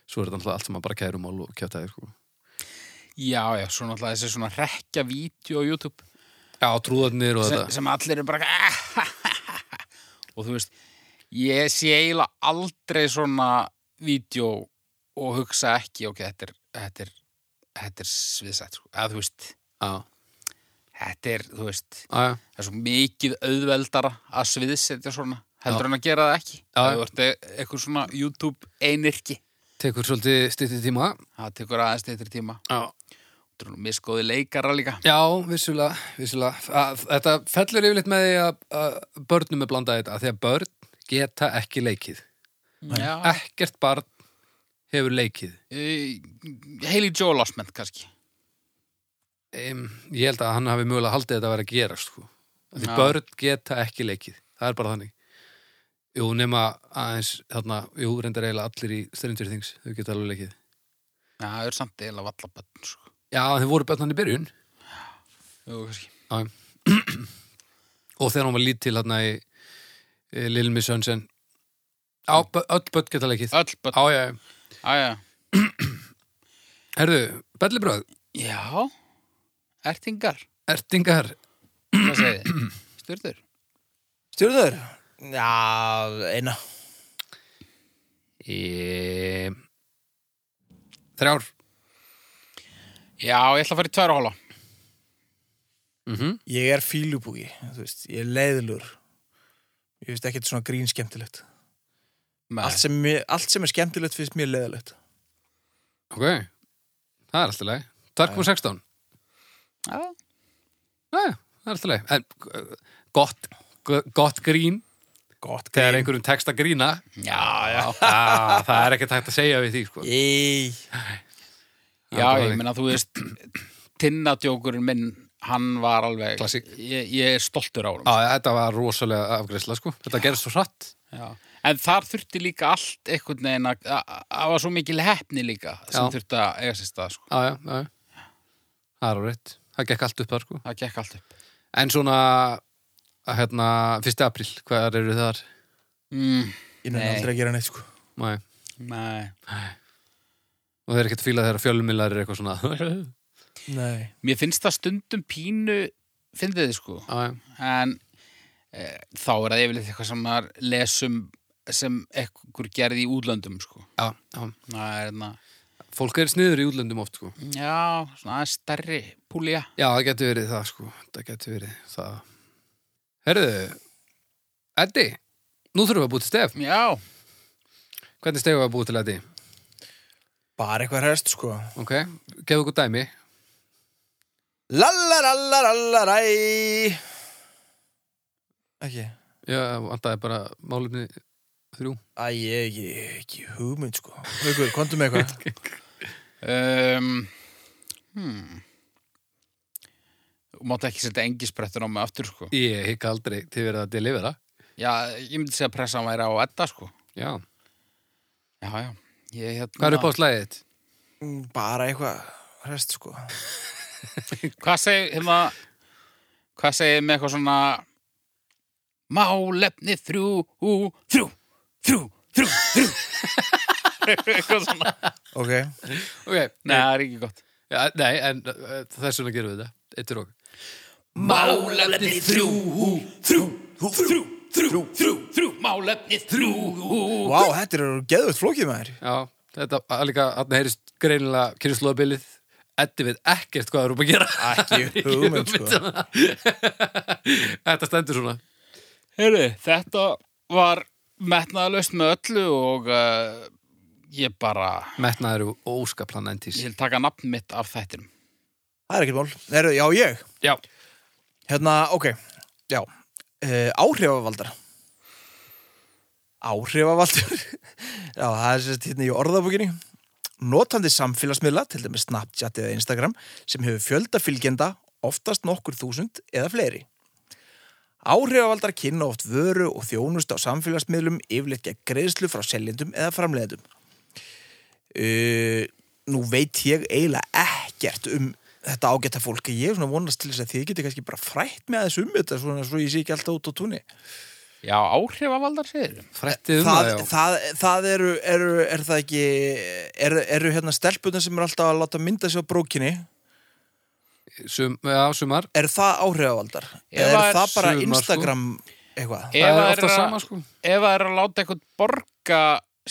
svo er þetta alltaf allt sem að bara kærumál og kjaftaði sko já, já, svo náttúrulega þessi svona rekja vídeo á YouTube Já, trúðarnir og sem, þetta sem allir eru bara og þú veist ég sé eiginlega aldrei svona vídeo og hugsa ekki, ok, þetta er þetta er, þetta er sviðsætt, sko. að þú veist Já, þetta er, þú veist, já, já, það er svo mikið auðveldara að sviðsetja svona heldur en að gera það ekki Já. það vart eitthvað svona YouTube einirki tekur svolítið stytti tíma það tekur aðeins eitthvað tíma Já, það er nú misgóði leikara líka Já, vissulega, vissulega. Að, þetta fellur yfirleitt með því að, að börnum er blandað í þetta, af því að börn geta ekki leikið. Já. Ekkert barn hefur leikið. Eh, Haley Joel Osment kannski Um, ég held að hann hafi mögulega haldið þetta að vera að gera, sko. Af Því Já. börn geta ekki leikið. Það er bara þannig. Jú, nema aðeins, þarna, jú, reyndar eiginlega allir í Stranger Things, þau geta alveg leikið. Já, það er samt eiginlega vallabönd sko. Já, þau voru börn hann í byrjun. Jú, kannski. Já. og þegar hún var lítil hérna í e, Lilmi Sönsen á, bö- öll börn geta leikið öll bönd á, já, já. já, herðu, bellibröð, já. já, ertingar ertingar hvað segir þið? Sturður? Stjórnur? Já, eina. e... þrjár Já, ég ætla að fara í tværa hóla mm Mhm. -hmm. Ég er fílubúki, þú veist. Ég er leiðilur. Ég veist ekkert svona grín skemmtilegt. Allt sem, mér- allt sem er skemmtilegt finnst mér leiðilegt. ok, það er alltaf leið 2,16 Já, Jæja, það er alltaf leið en uh, gott, gott grín Gott þegar einhverjum tekst að grína já, já. á, það er ekkert hægt að segja við því sko. Í, Já, Það er ég þannig. meina, þú veist, tinnadjókurinn minn, hann var alveg... Klassik. Ég, ég er stoltur á hann. á, þetta var rosalega afgreysla sko. þetta gerist svo hratt Já. En þar þurfti líka allt einhvern veginn að... að- að- Það var svo mikil hefni líka sem Já. þurfti að eiga sér stað, sko. á, já, já. það er á rétt það gekk allt upp þar sko. Það gekk allt upp. en svona að, hérna, 1. apríl, hvað eru þar? Mm, ég nenni Nei. aldrei að gera neitt sko Nei. nei. og þeir eru ekkert að fíla þeirra fjölumillar er eitthvað svona á, Nei, Mér finnst það stundum pínu, fyndið þið, sko. já. en e, þá er það yfirleitt eitthvað sem maður lesum sem ekkur gerði í útlöndum sko. Já, já. það er hérna fólk er sniður í útlöndum oft sko. já, svona aðeins stærri púlja já, það getur verið það sko. það getur verið það herðu, Eddi nú þurfum við að búið til stef já, hvernig stef var að búið til Eddi? bara eitthvað rest sko ok, gefðu okkur dæmi Lallarallarallaræ Ekki já, vantaði bara málumni þrjú Æ, ég hef ekki, ekki hugmynd sko Haukur, komdu með eitthvað um, hmm Þú mátt ekki setja engisbrettur á mig aftur sko ég hikka aldrei til verið að delivera já, ég myndi segja að pressan væri á Edda sko já, já, já ég, hérna, hvað er upp á slæðið þitt? Mm, Bara eitthvað rest sko hvað segir hérna, hvað segir með eitthvað svona málefni þrjú, ú, þrjú þrjú, þrjú, þrjú eitthvað svona Ok, ok, Nei, það er ekki gott ja, nei en uh, þess vegna gerum við þetta eittur og Málefni þrjú, ú, þrjú ú, þrjú, þrjú, þrjú, þrjú málefni þrjú ú. vá, þetta eru geðvögt flókið maður Já, þetta að líka, hann heyrist greinilega kynnslóðabilið Eddi veit ekkert hvað það eru að gera Ekki hugmynd sko Þetta stendur svona Heyri, þetta var metnaðalaust með öllu og uh, ég bara Metnaður og óskaplan endís ég vil taka nafn mitt af þættinum Það er ekkert mál, Heru, já ég Já, Hérna, ok, já uh, Áhrifavaldar Áhrifavaldar Já, það er sérst hérna í orðabókinni Notandi samfélagsmiðla, til dæmis Snapchat eða Instagram sem hefur fjölda fylgjenda oftast nokkur þúsund eða fleiri Áhrifavaldar kynna oft vöru og þjónustu á samfélagsmiðlum yfirleitt gegn greiðslu frá seljendum eða framleiðendum uh, Nú veit ég eiginlega ekkert um þetta ágæta fólk ég er svona vonast til þess að þið getur kannski bara frætt með þess um þetta svona svo ég sé ekki alltaf út á túnni Já, áhrifavaldar segir frættið um það, það, það, það eru, eru, er það ekki eru, eru hérna stelpunar sem er alltaf að láta mynda sig á brókinni já Sum, Já, sumar eru það áhrifavaldar? Ef eða það eru er það bara sumar, sko. Instagram eitthvað? Það er að- ofta sama sko ef það er að láta eitthvað borga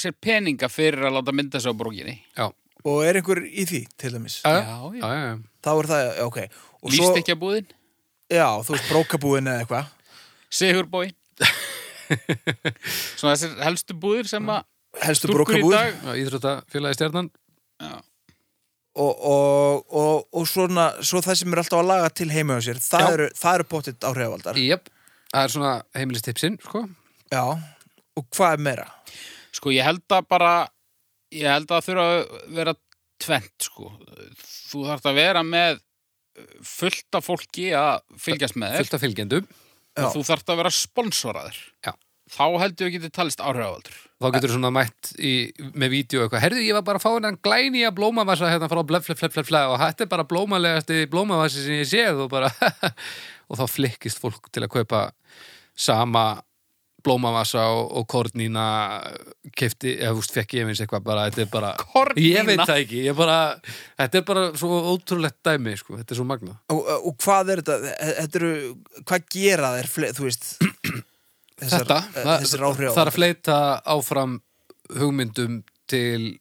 sér peninga fyrir að láta mynda sig á brókinni Já, og er einhver í því til dæmis? já, já. já, já. þá er það, já, ok og Líst svo, ekki að búðin, já, þú veist brókabúin eða eitthvað Sigurbói Svona þessir helstu búðir sem að helstu stúrkur í brókabúin dag já Íþróttafélagi stjarnan já. og, og, og, og svona, svo það sem er alltaf að laga til heima á sér, það Já. eru, það eru pottitt áhrifavaldar Jöp, það er svona heimilistipsin sko já, og hvað er meira? Sko ég held að bara ég held að þurfa að vera tvent sko þú þarft að vera með eh, fullt af fólki að fylgjast með þér Fullt af fylgjendum Já. og þú þarft að vera sponsoraður Já. þá heldur við getið talist áhrifavaldur Þá getur svona mætt í, með vídeo eitthvað Herðu, ég var bara að fá hennan glæni að blómavasa hérna frá blef, blef, blef, blef, blef og þetta er bara blómalegasti blómavasi sem ég séð og bara og þá flikkist fólk til að kaupa sama blómavasa og, og kornína kefti, eða þú veist, fekk ég minns eitthvað bara, þetta er bara, Kornína? ég veit það ekki ég bara, þetta er bara svo ótrúlegt dæmi, sko, þetta er svo magna Og, og hvað er þetta, þetta eru, hvað gera þeir, fle, þú veist, þessar, eh, þetta, það- þessar það áhrif það er að fleita áfram hugmyndum til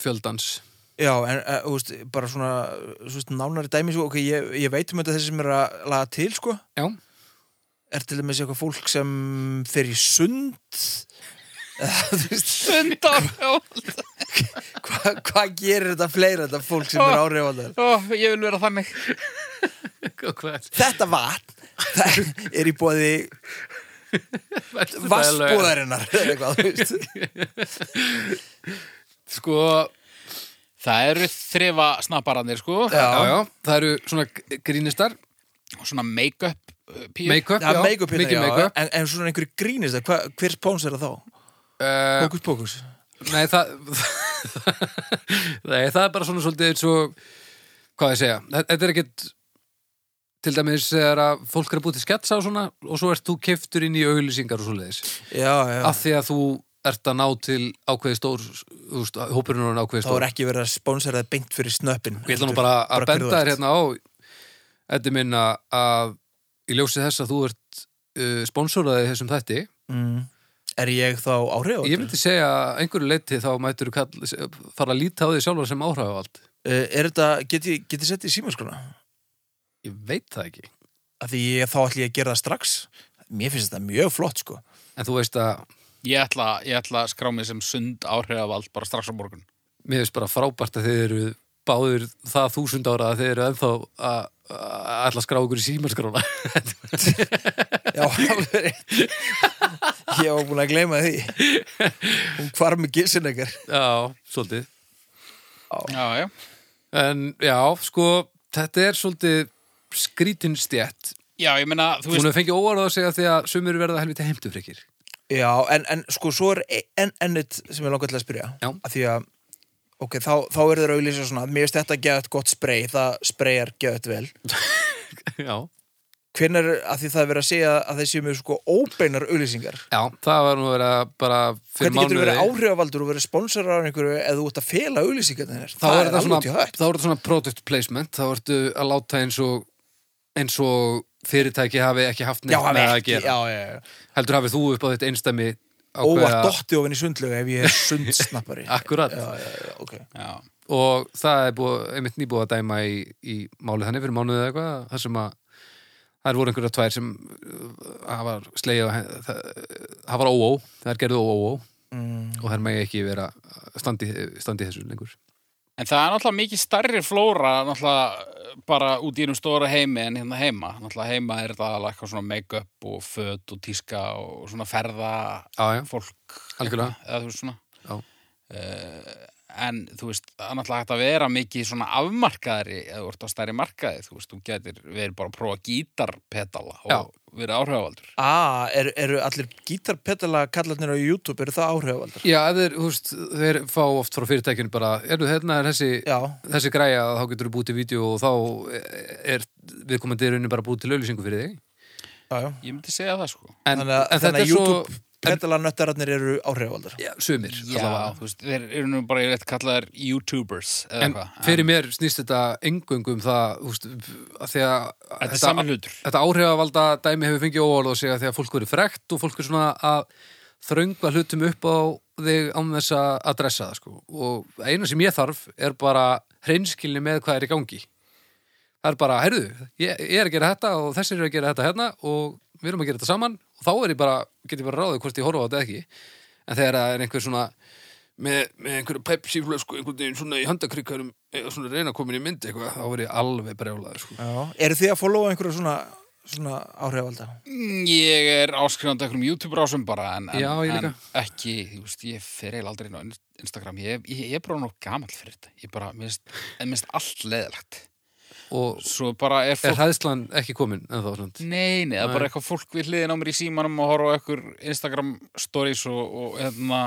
fjöldans Já, en, eh, þú veist, bara svona, þú veist, nánari dæmi, sko, ok, ég, ég veit um þetta þessi sem er að laga til, sko, Já, er til dæmis eitthvað fólk sem fer í sund, eða, þú veist, Sund áhrifavaldur hva, hvað gerir þetta fleira þetta fólk sem er áhrifaldar? Ó, ég vil vera þannig Þetta vatn það er í bóði vassbúðarinnar eða eitthvað, þú veist. Sko, Það eru þrefa snapparannir sko Já. já, já, það eru svona grínistar og svona make-up uh, píur Make-up, Já, já, make-up hérna, mikið já, make-up en, en svona einhverju grínist það, hva, hver spóns er það þá? uh, Pókus, pókus Nei, það Nei, það er bara svona svolítið eins og hvað ég segja, þe- þetta er ekkit til dæmis er að fólk er að búið til sketsa og svona og svo ert þú keftur inn í auglýsingar og svoleiðis Já, já, af því að þú ert að ná til ákveði stór, þú veist, hópurinn er orðinn ákveði þá stór er ekki verið að spónsa það beint fyrir snöppin Ég ætla nú bara að hver þú benda þér ert. hérna á Þetta minn að, að ég ljósi þess að þú ert uh, sponsoraði þessum þætti mm. Er ég þá áhrifaldar? hérna. Ég myndi segja að einhverju leiti þá mættur kall, fara að líta á því sjálfa sem áhræðu allt Uh, er þetta, get ég, get ég sett í símaskona? Ég veit það ekki Af því ég, þá ætla ég að gera það strax Mér finnst þetta mjög flott sko En þú veist að ég, ætla, ég ætla að skrá mig sem sund áhrifavald bara strax á morgun mér finnst bara frábært að þið eru báður það þúsund ára að þið eru ennþá að að ætla að skrá ykkur í símarskrána Já, alveg rétt Ég var búin að gleyma því Hún hvar með gissin ekkert Já, svolítið Já, já En já, sko, þetta er svolítið skrítin stjætt Já, ég meina, þú Hún veist, hefur fengið óvarað að segja því að sumir verða helviti heimtufrikir Já, en, en sko svo er e- enn ennit sem ég langar til að spyrja Já. Af Því að, ok, þá, þá eru þeir að auðlýsa svona Mér finnst þetta geðað gott spray Það sprayar geðað vel Já, Hvenær, af því það er verið að segja að þeir séu með sko óbeinar auðlýsingar já, það var nú að vera bara fyrir Hvernig getur mánuði verið áhrifavaldur og verið sponsorar af einhverju eða þú ert að fela auðlýsingarna þér? þá er þetta alveg út í svona, hött. þá er þetta svona product placement þá ertu að láta eins og eins og fyrirtæki hafi ekki haft Já, neitt hafi með að ekki, gera já, já, já. heldur hafi þú upp á þetta einstæmi Óvart dotti ofinn í sundlegu ef ég er sundsnappari. akkurat já, já, já, ok. já, og það er búið, einmitt nýbúið að dæma í, í málið þannig fyrir mánuðið eitthvað þar sem að það voru einhverja tvær sem uh, hafa slegið á hen- það það var óó, það er gerðu óó Mm, og það megi ekki vera uh, standi, standi þessu lengur En það er náttúrulega mikið starri flóra náttúrulega bara út í einum stóra heimi en hérna heima. Náttúrulega heima er þetta alveg eitthvað svona make-up og föt og tíska og svona ferða já, já, fólk algjörlega eða þú veist svona. Já. Eh, en þú veist, það er náttúrulega hægt að vera mikið svona afmarkaðari eða þú ert á stærri markaði, þú veist, þú getur verið bara að prófa gítarpedala og Já. verið áhrifavaldur. A, eru, Ah, eru allir gítarpedala kallarnir á YouTube, eru það áhrifavaldur? Já, ef þeir, húst, þeir fá oft frá fyrirtækinu bara, eru hérna er þessi, Já, þessi græja þá getur þú búið til vídeo og þá eh, er viðkomandi í rauninu bara búið til auðlýsingu fyrir þig já, já. Ég myndi segja það sko. En, Þannig að, en þetta er þannig að YouTube svo pedalanöttararnir eru áhrifavaldur. já, sumir Já, allavega. þú veist, þeir eru nú bara rétt kallaðar YouTubers eða En eitthvað. fyrir mér snýst þetta engöngum það, húst, að því að Þetta er saman hlutur. þetta áhrifavalda dæmi hefur fengið óvald og segja því að fólk verið frekt og fólk er svona að þröngva hlutum upp á þig án þess að að dressa það sko. og eina sem ég þarf er bara hreinskilni með hvað er í gangi það er bara, heyrðu, ég, ég er að gera þetta og þessir eru að gera þetta hérna og við erum að gera þetta saman og þá er ég bara, get ég bara ráðið hvort ég horfa á þetta eða ekki en þegar það er einhver svona með, með einhverju pepsiflösku einhvern veginn svona í handakrykkarum eða svona reyna að koma inn í mynd eitthvað þá er ég alveg brjálaður sko. Já, eru þið að followa einhverju svona, svona áhrifavalda? Mm, Ég er áskrifandi einhverjum YouTube-rásum bara en, en, Já, ég líka. en ekki, þú veist, ég fer eiginlega aldrei inn á In- Instagram, ég, ég, ég er bara nóg gamall fyrir þetta, ég bara, mér finnst- en minnst allt leðilegt, og svo bara er er fólk hæðslan ekki komin en þá svona Nei, nei, það er Nei. bara eitthvað fólk við hliðin á mér í símanum og horfa á ekkur Instagram stories og, og hérna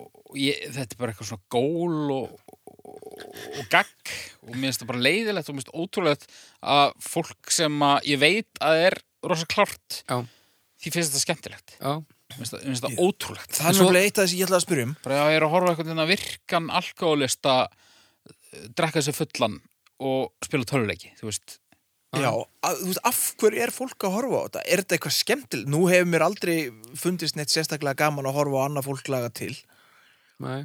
og ég, þetta er bara eitthvað svona gól og, og, og gagg og mér finnst það bara leiðilegt og mér finnst ótrúlegt að fólk sem að ég veit að er rosa klárt Já. því finnst þetta skemmtilegt já, Mér finnst það- mér finnst Ég- það ótrúlegt Það er Svo- náttúrulega eitt af þess að ég ætla að spyrja um. bara að ég er að horfa á eitthvað þennan virkan alkoholista eh, drekka sér fullan og spila töluleiki þú veist Já, að, þú veist, af hverju er fólk að horfa á þetta? Er þetta eitthvað skemmtileg? Nú hefur mér aldrei fundist neitt sérstaklega gaman að horfa á annað fólk laga til. nei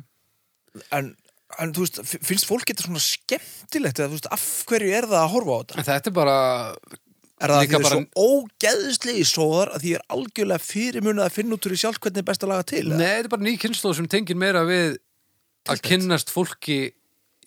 En, en þú veist, f- finnst fólk þetta svona skemmtilegt? Eða, þú veist, af hverju er það að horfa á þetta? En þetta er bara, Er það Líka því það er bara- svo ógeðslegi sóðar að því er algjörlega fyrirmunað að finna út úr í sjálf hvernig er best að laga til? eða? nei, þetta er bara ný kynnslóð sem tengir meira við að kynnast fólki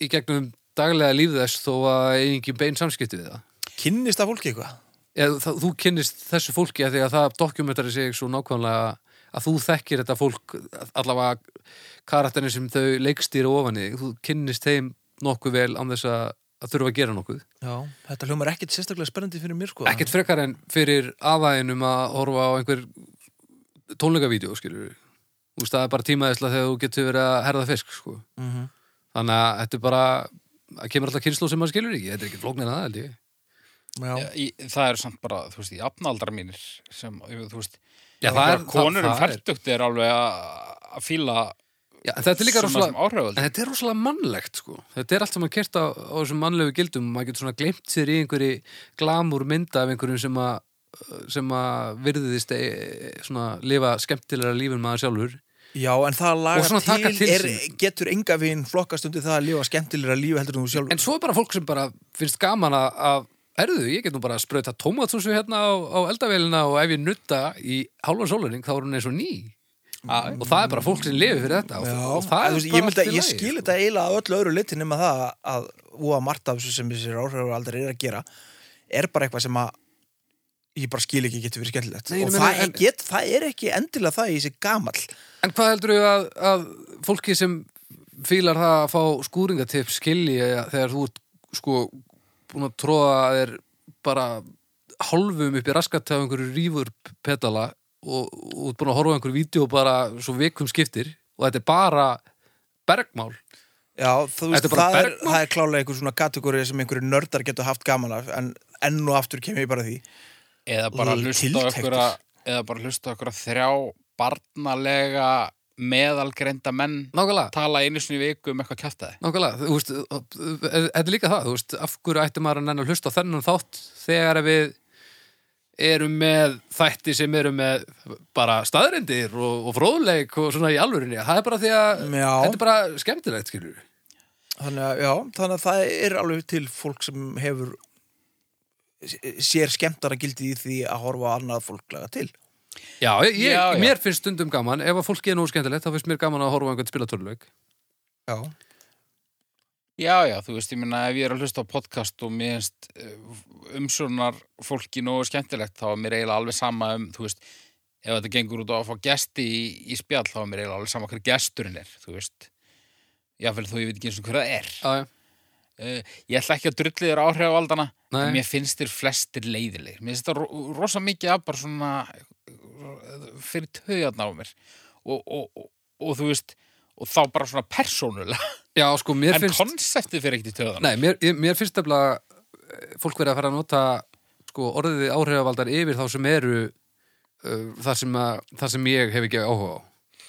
í gegnum daglega líf þess þó að eigi engin bein samskipti við það Kynnist það fólki eitthvað? Eð, það, þú kynnist þessu fólki að því að það dokumentari sig svo nákvæmlega að þú þekkir þetta fólk allavega karakterni sem þau leikstýra ofan í, þú kynnist þeim nokkuð vel án þess að, að þurfa að gera nokkuð Já, þetta hljómar ekkit sérstaklega spennandi fyrir mér sko ekkert frekar en fyrir aðvæðinum að horfa á einhver tónleikavídeó, skilur við Þú veist, það er bara tímaðisla þegar þú getur verið að herða fisk, sko. Mhm. Þannig að þetta er bara, það kemur alltaf kynslu sem maður skilur ekki, þetta er ekki flóknir að það, held ég. Já, Já, eh, í, það eru samt bara, þú veist, í apnaldra mínir sem, þú veist Já, það einhverjar er- konur það- um það er- færtugt er alveg að að fíla Já, en þetta er líka svona sem rosalega, áhrifald en þetta er rosalega mannlegt, sko. Þetta er allt sem maður kert á, á þessum mannlegu gildum, maður getur svona glemt sér í einhverju glamur mynda af einhverjum sem að, sem að virðist e, svona lifa skemmtilega lífin maður sjálfur. já en það að Og laga svona taka til, til er, sín. getur enga veginn flokkast undir það að lifa skemmtilegra lífi heldur en þú sjálf En svo er bara fólk sem bara finnst gaman að, að erðu, ég get nú bara að sprauta tómatsúsu hérna á, á eldavélina og ef ég nutta í hálfa sóluning þá er hún eins og ný. Og það er bara fólk sem lifi fyrir þetta og, Mm. Já, og það en er þú veist, bara ég, myndi, allt í að- ég lagi, skil sko. þetta eiginlega að öllu öðru liti nema það að úa margt af þessu sem þessir áhrifur aldrei er að gera er bara eitthvað sem að ég bara skil ekki getur verið skemmtilegt Nei, ég og meina, það, en- en... get, það er ekki endilega það í þessi gamall En hvað heldur þau að, að fólki sem fílar það að fá skúringatipp skilji þegar þú ert sko búin að tróða að þeir bara hálfum upp í raskat af einhverju rífur pedala og, og þú ert búin að horfa á einhverju vídeo bara svo veikum skiptir og þetta er bara bergmál Já, þú Þetta veist, er bara það er, bergmál. það er klálega einhver svona kategóri sem einhverju nördar getur haft gaman af en enn og aftur kemur ég bara að því eða bara Lú, hlusta á okkur tiltektur. eða bara hlusta á okkur þrjá barnalega meðalgreinda menn Nákvæmlega tala einu sinni í viku um eitthvað kjæftæði Nákvæmlega, þú veist, er- þetta er líka það, þú veist, af hverju ætti maður að nenni að hlusta á þennan þátt þegar að við erum með þætti sem eru með bara staðrendir og, og fróðleik og svona í alvörinni, það er bara því að Já. þetta er bara skemmtilegt, skilur við. þannig að, já, þannig að það er alveg til fólk sem hefur sér skemmtara gildi í því að horfa á annað fólk laga til Já, ég, Já, já. mér finnst stundum gaman, ef að fólki er nú skemmtilegt, þá finnst mér gaman að horfa á einhvern spila töluleik. Já, Já, já, þú veist, ég minna ef ég er að hlusta á podcast og mér finnst eh, umsjónar fólki nógu skemmtilegt þá er mér eiginlega alveg sama um, þú veist ef þetta gengur út á að fá gesti í, í spjall þá er mér eiginlega alveg sama hver gesturinn er þú veist, jáfnvel þó ég veit ekki eins og hver það er Já, já, uh, Ég ætla ekki að drulli þér áhrif á aldana Nei. mér finnst þér flestir leiðilegir mér finnst það ro rosa mikið að bara svona eh, fyrir töðjarn á mér og, og, og, og þú veist og þá bara svona persónulega já sko, mér en finnst... konseptið fyrir ekkert í töðan Nei, mér, ég- mér finnst nefnilega eh, fólk verið að fara að nota sko, orðið áhrifavaldar yfir þá sem eru uh, þar, sem að, þar sem ég hef ekki áhuga á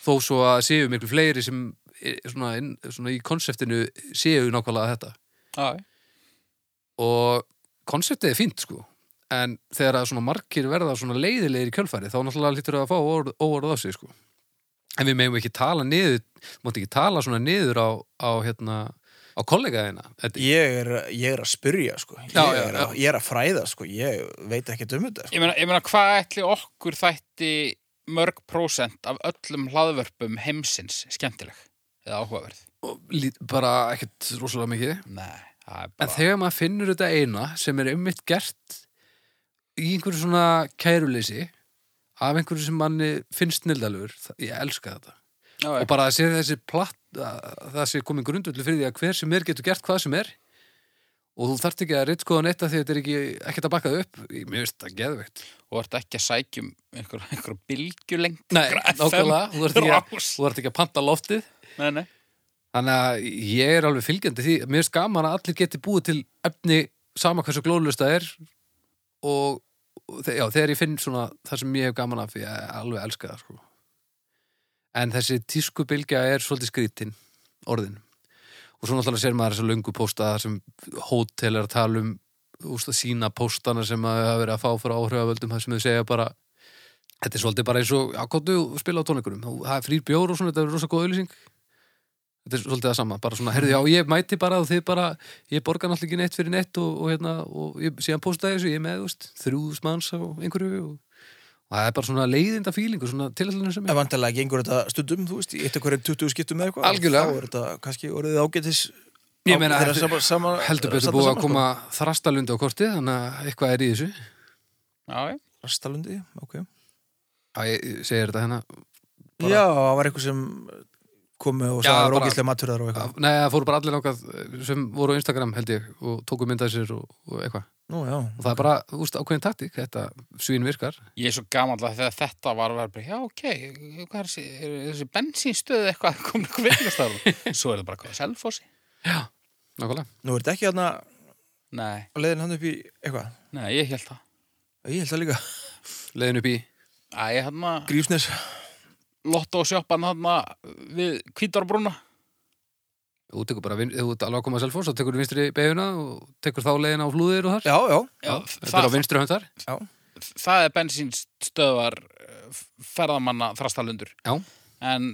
þó svo að séu miklu fleiri sem eh, svona, inn- svona í konseptinu séu nákvæmlega þetta Já, og konseptið er fínt sko en þegar að svona margir verða svona leiðilegir í kjölfæri þá náttúrulega lítur það að fá óorð- óorð á sig sko en við megum ekki tala niður mátt ekki tala svona niður á, á hérna á kollegaðina ég er, ég er að spyrja sko. ég, Já, já, er að, ég er að fræða sko. ég veit ekki um þetta sko. Ég meina, ég meina hvað ætli okkur þætti mörg prósent af öllum hlaðvörpum heimsins skemmtileg eða áhugaverð? Og lít- bara ekkert rosalega mikið Nei, það er en bara... þegar maður finnur þetta eina sem er ummitt gert í einhverju svona kæruleysi af einhverju sem manni finnst nildalur ég elska þetta Já, og bara að sé þessi platt að, að það sé komin grundvöldu fyrir því að hver sem er getur gert hvað sem er og þú þarft ekki að ritskoða neitt af því að þetta er ekki ekkert að bakka það upp Ég- mér finnst það geðveikt og ertu ekki að sækjum einhver, einhver bylgjulengd Nei, nákvæmlega, þú ert ekki, að- Rás. þú ert ekki að panta loftið Nei, nei. Þannig að ég er alveg fylgjandi því mér finnst gaman að allir geti búið til efni sama hversu glóðlust það er og, og þe- já, þegar ég finn svona það sem ég hef gaman af því að alveg elska það sko. en þessi tískubilgja er svolítið skrítin orðin og svo náttúrulega sér maður þessa löngu posta þar sem hótel er að tala um úst, sína postana sem að hafa verið að fá fyrir áhrifavöldum þar sem þau segja bara þetta er svolítið bara eins og já, kóttu og spila á tónleikunum Þú- það er frýr bjór og svona, þetta er rosa góð auðlýsing þetta er svolítið það sama, bara svona, herðu, já, ég mæti bara og þið bara, ég borga náttúrulega ekki neitt fyrir neitt og, og hérna, og ég, síðan postaði þessu, ég er með, þú veist, þrjúðus manns og einhverju og, og það er bara svona leiðinda fílingur, svona tilhællinu sem En er vantarlega gengur þetta stundum, þú veist, í eitt hverjum 20 skiptum eða eitthvað. Algjörlega. Þá er þetta kannski orðið ágætis Ég meina, þeirra heldur- sama, sama, heldur sama- betur búið sama, sko. að sko. koma þrastalundi á kortið, þannig að eitthvað er í þessu já, já. Sko. Rastalundi, ok. Æ, ég segir þetta hérna Bara- Já, það var eitthvað sem komu og Já, sagði bara- rókislega maturðar og eitthvað. Nei, það fóru bara allir nákað sem voru á Instagram held ég og tóku myndað sér og, og eitthvað Nú, já. og það er bara, þú veist, ákveðin taktík þetta svín virkar Ég er svo gamall að þegar þetta var að vera bara, já, ok, hvað er þessi, er þessi bensínstöð eitthvað komin að kvinnastarum? Svo er það bara hvað, selfossi? nákvæmlega Nú er þetta ekki hérna á Nei, leiðin hann upp í eitthvað. nei, ég held það. Ég held það líka. leiðin upp í Æ, hérna, hann að Grífsnes. lotto sjoppan hann að hérna við kvítarbrúna. þú tekur bara, vin- ef þú ert alveg að koma að selfos þá tekur þú vinstri beiguna og tekur þá leiðina á flúðir og þar Já, já. Já, þetta er það, á vinstri hönd þar Já. það er bensínstöðvar eh, ferðamanna þrastalundur. Já. En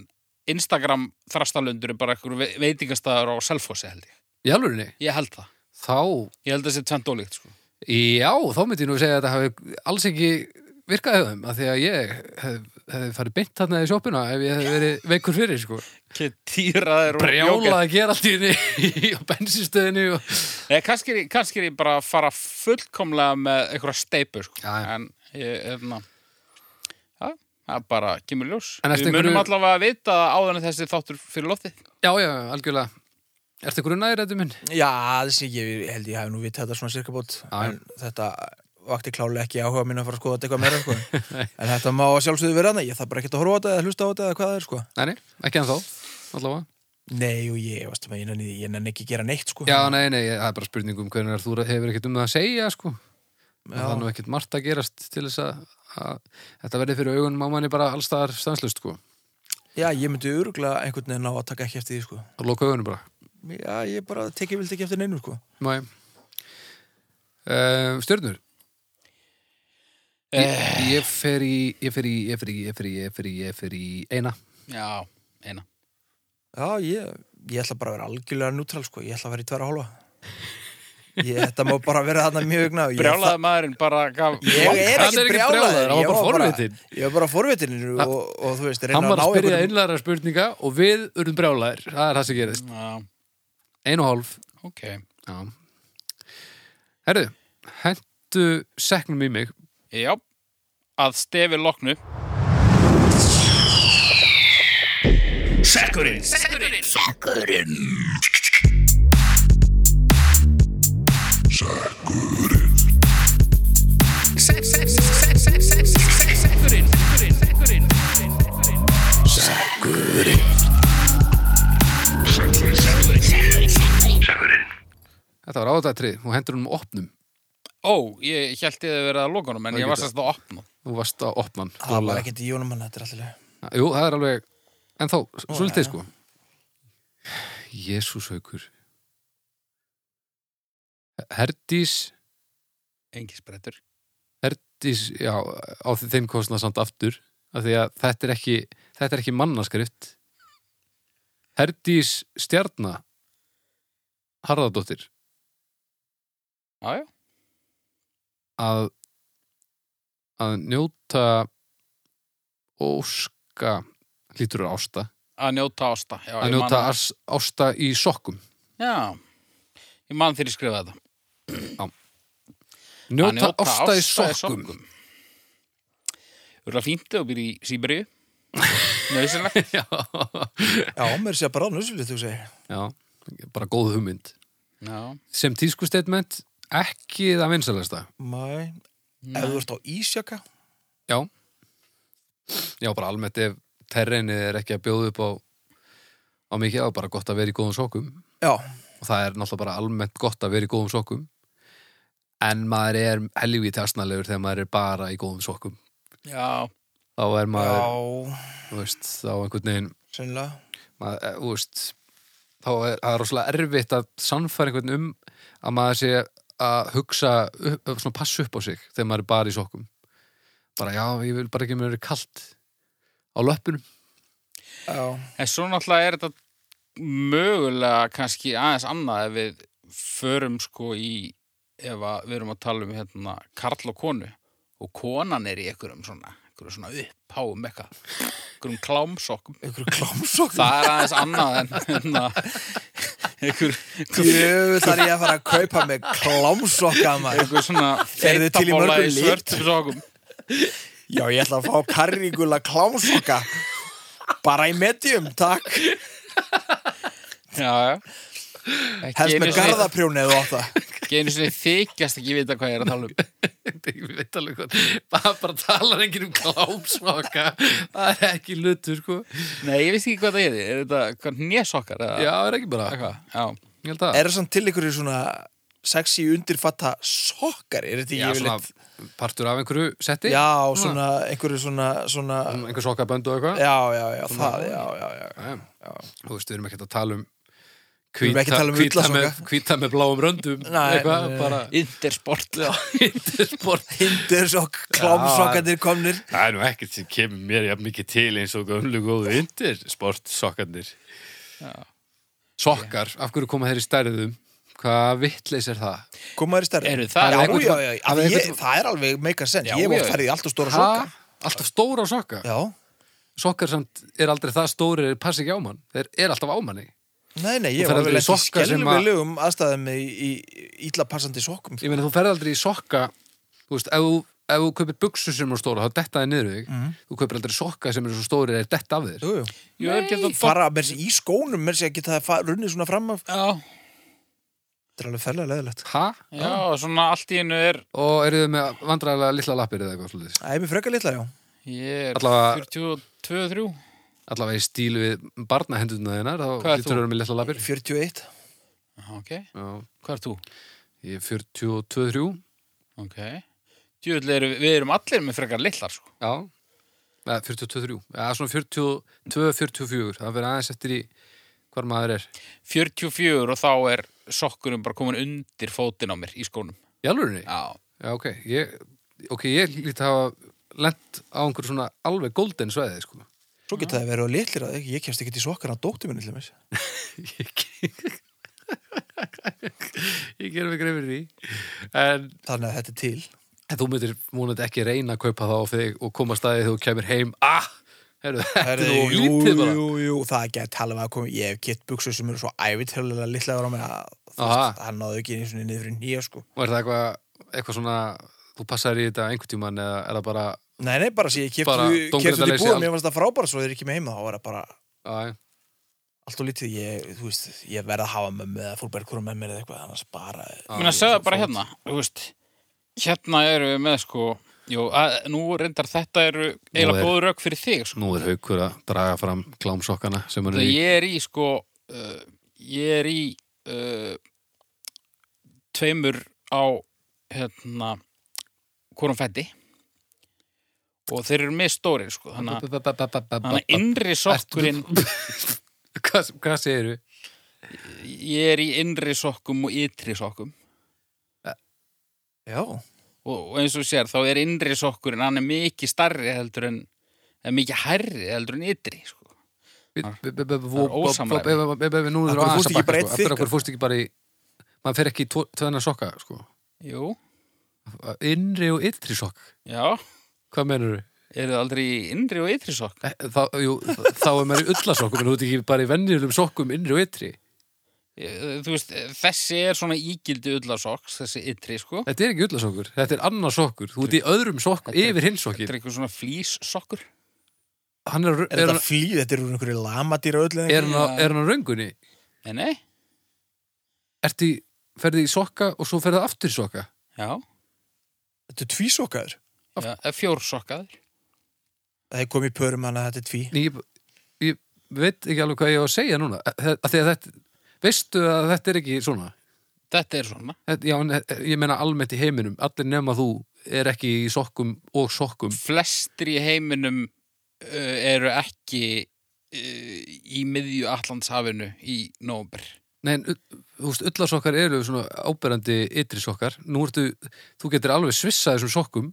Instagram þrastalundur er bara einhver ve- veitingastæður á selfossi held ég. í alvörinni, Ég held það. þá Ég held þessi tvent ólíkt, sko. já, þá myndi ég nú segja að þetta hafi alls ekki virkað höfum að því að ég hef, hefði farið beint þarna í sjoppuna ef ég hefði verið veikur fyrir sko. Týraður brjálað að gera allt í henni á bensinstöðinu og... Nei, kannski, er ég- kannski er ég bara að fara fullkomlega með einhverja steipu, sko. Já, já. En ég, hérna, já, það er bara kemur í ljós. En ertu Við munum einhverju- allavega að vita áður en þessi þáttur fyrir loftið. já, já, algjörlega ertu grunnaðir þetta minn? Já, þessi ég ég held ég hafi nú vitað þetta svona sirkabót. Já, já. En þetta vakti klálega ekki áhuga mín að fara að skoða þetta eitthvað meira, sko. en þetta má að sjálfsögðu vera annað. Ég þarf bara ekki að horfa á þetta eða hlusta á þetta eða hvað það er, sko. Nei, nei, ekki ennþá, allavega Nei, og ég, varstu með, ég nenni, því- ég nenni ekki að gera neitt, sko. Já, nei, nei, það er bara spurning um hvernig þú hefur ekkert um það að segja, sko. Já. Já. Það er nú ekkert margt að gerast til þess að, að þetta verði fyrir augunum á manni bara allstaðar stanslust, sko. Já, ég myndi öruglega einhvern veginn á að taka ekki eftir því, sko. Og loka augunum bara. Já, ég bara tekið vilt ekki eftir neinu, sko. Má ég? Uh, stjörnur. Eh, Ég, ég fer í, ég fer í, ég fer í, ég fer í, ég fer í, ég fer í eina. Já, eina. Já, ég, ég ætla bara að vera algjörlega nútrál, sko. Ég ætla að vera í tverra hálfa. Ég, þetta má bara vera þarna mjög gnað. Ég- Brjálaði maðurinn bara gaf... Ég er Hann ekki er ekkert brjálaður, brjálaður, hann var ég bara var bara forvitinn. Ég var bara forvitinn og, og þú veist, Hann reyna var að ná að spyrja einhverjum einlæra spurninga og við urðum brjálæðir. Það er það sem gerist. Já, Ein og hálf. ok. Já. Herru, hentu seknum í mig. Já, að stefi loknu. Þetta var áðatrið og hendur honum opnum. Ó, ég held ég að vera að lokanum, en Það ég var getur- sérst að opna. Þú varst að opna hann Það Ah, var klárlega. ekkert í jónum hann, þetta er alltaf Jú, það er alveg En þá, já, svolítið já. sko Jésús haukur Herdís Engi sprettur. Herdís, já, á þe- þeim kostna samt aftur af því að þetta er ekki þetta er ekki mannaskrift Herdís stjarna Harðardóttir Já, já. að að njóta óska hlýtur að ásta Að njóta ásta. Já, að ég man- njóta ás- ásta í sokkum Já, ég man þegar ég skrifaði þetta. Njóta, Að njóta ásta í ásta í sokkum. sokkum. Úrla fínt og byrja í Sýbríu. Nöðsynlegt. Já. Já, mér sé bara nöðsulegt, þú segir Já, bara góð hugmynd. Já. Sem tískusteytment, ekki það vinsalesta. Mæ, Mm. ef þú ert á ísjaka Já. Já, bara almennt ef terrenið er ekki að bjóða upp á, á mikið, þá er bara gott að vera í góðum sokkum. Já, Og það er náttúrulega bara almennt gott að vera í góðum sokkum. En maður er helvíð tjastnalegur þegar maður er bara í góðum sokkum. Já, Þá er maður, já, þú veist, þá einhvern veginn sennilega maður, eh, þú veist þá er það er rosalega erfitt að sannfæra einhvern um að maður sé að hugsa upp, eh, svona passa upp á sig þegar maður er bara í sokkum bara já, ég vil bara ekki að mér verið kalt á löppunum Já, en svo náttúrulega er þetta mögulega kannski aðeins annað ef við förum sko í, ef að við erum að tala um hérna karl og konu og konan er í einhverjum svona, einhverjum einhverjum svona uppháum eitthvað, einhverjum klámsokkum Ykkur klámsokk það er aðeins annað en hérna, einhver, einhver, Jú, þar ég að fara að kaupa með klámsokka maður einhver svona Eru þið til í feitabóla mörgum lit? svörtum sokkum Já, ég ætla að fá karríkula klámsokka Bara í medium, takk já, já Ekki Helst einu með sinni- garðaprjóni eða átta ekki einu sinni þykjast ekki vita hvað ég er að tala um Ég veit alveg hvað bara, bara talar enginn um klámsvaka það er ekki hlutur sko nei, ég veist ekki hvað það er, er þetta hvað nésokkar eða Já, er ekki bara eitthvað, já, Ég held að Er það samt til ykkur svona sexy undirfatta sokkar Er þetta Já, ekki svona yfirleitt partur af einhverju setti Já, svona, einhverju svona, svona einhver sokkabönd og eitthvað Já, já, já, það, já, já, já Mm. Já, já. Þú veist, við erum ekkert að tala um erum ekki að tala um hvíta ullasoka. með, hvíta með bláum röndum Nei, eitthvað, nei, nei. bara intersport já, hindersport Hindersokk, klámsokkarnir komnir Það er nú ekkert sem kemur mér jafn mikið til eins og gömlu góðu hindersport sokkarnir Sokkar, af hverju koma þeir í stærðum? Hvað vitleis er það? Komaður í stærri Eru það- já, einhvern- já, já, já, hafa ég, einhvern- Það er alveg meika sens Já, Ég já. var færið í allt og stóra sokka Alltaf stóra sokka Já, Sokkar samt er aldrei það stóri er passi ekki á mann Þeir er alltaf á manni nei, nei, Þú ég ferð var aldrei í alveg lent í sokka sem að- skelfilegum aðstæðum í, í, í illa passandi sokkum Ég meina, þú ferð aldrei í sokka Þú veist, ef þú, ef þú kaupir buksu sem eru stóra þá detta þið niður þig Mhm. Þú kaupir aldrei sokka sem eru svo stóri er detta af þér Jú, jú Jú, er ekki þetta Fara með sér í skónum með sér að geta það fa- runnið svona fram af já, Þetta er alveg ferlega leðilegt Ha? já, svona allt í einu er Og eru þið með vandræðlega litla lappir eða eitthvað slúðis? Það er mér frekar litla, já ég er Allavega- 42-3 Allavega í stíl við barnahendurna þínar þá Hvað ert lítur þú? þú með litla lappir 41 ok, Já, hvað er þú? ég er 42-3 ok, djúvill eru við erum allir með frekar litlar sko Já, eða 42-3 Já, svona 42-44 Það verður aðeins eftir í hvar maður er 44 og þá er sokkurum bara komin undir fótinn á mér í skónum Í alvörinni? já, Já, ok Ég, ok, ég líti að hafa lent á einhver svona alveg golden svæði sko. Svo geta það verið á litlir að ég kemst ekki í sokkana á dóttu minni til þess Ég gerum ekki reyfir því En Þannig að þetta er til En þú myndir múnandi ekki reyna að kaupa það á þig og koma að staðið þegar þú kemur heim Ah, herru, þetta er Herðu, nú of jú, lítið bara jú, jú, það get alveg um að koma Ég hef gett buksur sem eru svo ævitjálega litlaður á mig að þú Aha. veist, hann náðu ekki einu sinni niður fyrir nýja sko Og er það eitthvað, eitthvað svona þú passar í þetta einhvern tímann eða er það bara Nei, nei, bara sé ég keftu Bara keftu því dómgreindarleysi búið, allt. mér fannst það frábæra svo þeir ekki með heima, þá var það bara að, allt og lítið, ég, þú veist, ég verð að hafa mömmu eða fólkbergur og mömmu eða eitthvað, annars bara Ég meina, segðu það bara hérna, þú veist, hérna eru við með, sko, jú, að, nú reyndar þetta eru eiginlega er- góð rauk fyrir þig, sko. Nú er haukur að draga fram klámsokkana sem hann er Það í ég er í, sko, uh, ég er í uh, tveimur á, hérna, hvorum fætti og þeir eru með stórir, sko, þannig að þannig að Hvað innri sokkurinn, hvað segirðu? ég er í innri sokkum og ytri sokkum Já, og, og eins og þú sér, þá er innri sokkurinn, hann er mikið starri heldur en, eða mikið herri heldur en ytri, sko. Nú er það aðeins að sko. bakka Akkur fórst ekki bara í maður fer ekki í tvenna sokka sko. Jú, innri og ytri sokk já, hvað menur þú? eru þið aldrei í innri og ytri sokk? Þá, jú, þá er maður í ullasokkum en þú ert ekki bara í venjulegum sokkum innri og ytri Eh, Þú veist, eh, þessi er svona ígildi ullarsokks, þessi ytri, sko. þetta er ekki ullasokkur, þetta er annars sokkur þú ert í öðrum sokk, yfir hins Þetta sokkin er eitthvað svona flýssokkur. hann er, er, er, þetta flýð, þetta eru einhverju lamadýra öll eða er, hann, á- er hann á röngunni Nei, nei, ertu, í- ferðu í sokka og svo ferðu aftur í sokka já, eitthvað? Þetta er tvísokkaður. já eh, fjórsokkaður. Það er komið í pörum hann að þetta er tví. En ég, ég veit ekki alveg hvað ég á að segja núna að, að að þetta, veistu að þetta er ekki svona Þetta er svona. þetta, já, en, eh, ég meina almennt í heiminum allir nema þú er ekki í sokkum og sokkum Flestir í heiminum uh, eru ekki uh, í miðju Allandshafinu í nómber. Nei, en u- þú veist, ullasokkar eru svona áberandi ytri sokkar. Nú ertu, þú getur alveg svissað þessum sokkum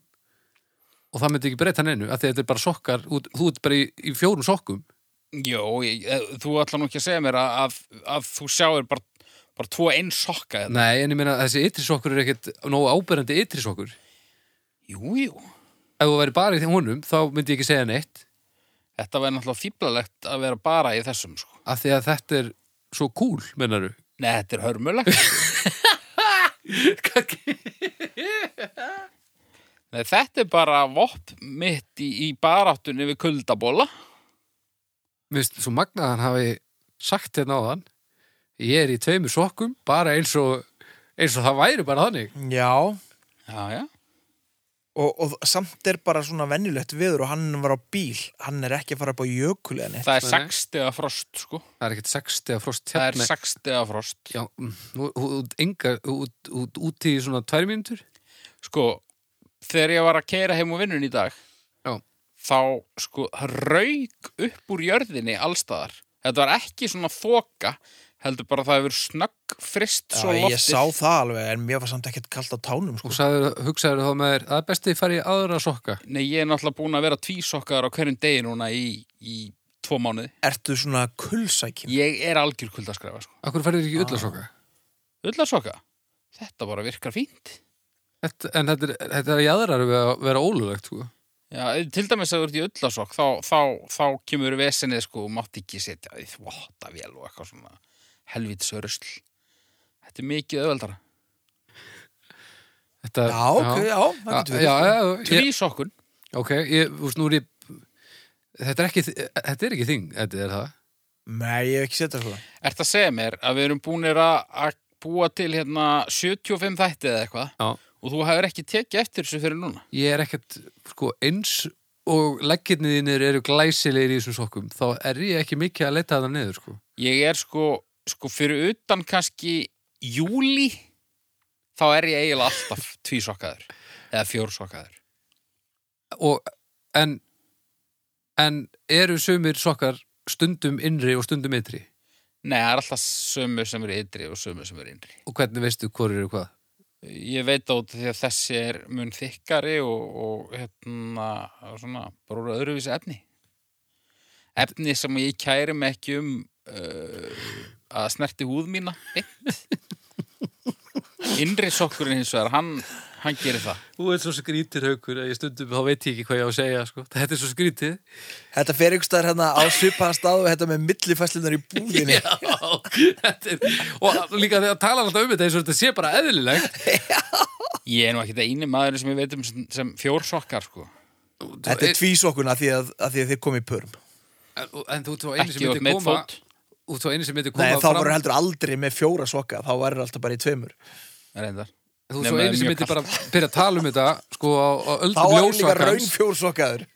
og það myndi ekki breyta neinu, af því að þetta er bara sokkar, þú, þú ert bara í, í fjórum sokkum. Jó, ég, eh, þú ætlar nú ekki að segja mér að, að, að þú sjáir bara, bara tvo einn sokka. hérna. Nei, en ég meina að þessi ytri sokkur er ekkert nógu áberandi ytri sokkur. Jú, jú. ef þú væri bara í þeim honum, þá myndi ég ekki segja neitt Þetta væri náttúrulega fíblalegt að vera bara í þessum sko. af því að þetta er svo cool, mennaru Nei, þetta er hörmulegt Nei, Þetta er bara vopp mitt í, í baráttunni við kuldabóla Mér finnst svo magnað að hann hafi sagt hérna á þann ég er í tveimur sokkum, bara eins og eins og það væri bara þannig Já, Já, já og, og samt er bara svona venjulegt viður og hann var á bíl, hann er ekki að fara upp á jökul eða neitt. Það er Nei. sex stega frost, sko. Það er ekkert 60 að frost Það er hérna sex stega frost. Já, mm, nú- þú þú- enga, þú- þú- þú- út í svona tvær mínútur Sko, þegar ég var að keira heim úr vinnun í dag, Já. þá, sko, rauk upp úr jörðinni allstaðar. Þetta var ekki svona þoka, heldur bara að það hefur snögg frist svo Já, loftið. ég sá það alveg, en mér var samt ekkert kalt á tánum, sko. og sagður, hugsaður þá með þér að það er besti að fara í aðra sokka Nei, ég er náttúrulega búin að vera tvísokkaðar á hverjum degi núna í, í tvo mánuði. Ertu svona kulsækin? Ég er algjör kuldaskræfa, sko. Akkur færðu ekki í ulla sokka? Ullasokka, þetta bara virkar fínt. Þetta, en þetta er, þetta er í aðrar að vera- vera ólulegt sko. Já, eh, til dæmis að þú ert í öllasokk þá, þá, þá kemur vesenið sko og mátt ekki setja því þvottavél og eitthvað svona helvitsörusl Þetta er mikið öðveldara þetta, Já, ok, já, það Já, Ah, getur já, verið. já, ég, Tvísokkun, ok, ég, þú veist, nú er ég þetta er ekki, þetta er ekki þing þetta er það, Nei, ég hef ekki sko. setjað svona. ert að segja mér að við erum búinir að, að búa til hérna 75 þætti eða eitthvað já, og þú hefur ekki tekið eftir þessu fyrir núna ég er ekkert sko eins og leggirni þínir eru glæsilegir í þessum sokkum þá er ég ekki mikið að leita það niður sko Ég er sko, sko fyrir utan kannski júli þá er ég eiginlega alltaf tvísokkaður eða fjórsokkaður og, en en eru sumir sokkar stundum innri og stundum ytri Nei, það er alltaf sömu sem eru ytri og sömu sem eru innri og hvernig veistu hvor eru hvað Ég veit át því að þessi er mun þykkari og, og hérna, svona, bara úr öðruvísi efni. Efni sem ég kæri mig ekki um uh, að snerti húð mína beint. Innri sokkurinn hins vegar, hann, hann gerir það. Þú ert svo skrítir haukur að ég stundum þá veit ég ekki hvað ég á að segja sko. þetta er svo skrítið Þetta fer ykkur staðar hérna á svipaðan stað og þetta með millifæslunar í búðinni. Þetta er, og líka þegar tala alltaf um þetta eins og þetta sé bara eðlilegt Ég er nú ekki það eini maðurinn sem ég veit um sem, sem fjórsokkar, sko. Þetta er tvísokkun að því að, að því að þið komið í pörum. en, en þú ert svo einu Ekki sem út myndi með koma fót. Þú ert svo einu sem myndi koma Nei, þá fram voru heldur aldrei með fjóra sokka, þá varir alltaf bara í tveimur. Reyndar. Þú ert Nei, svo maður er einu sem mjög myndi kalt. bara byrja að tala um þetta sko á, á Þá öldum varir líka raun ljósakans fjórsokkaður.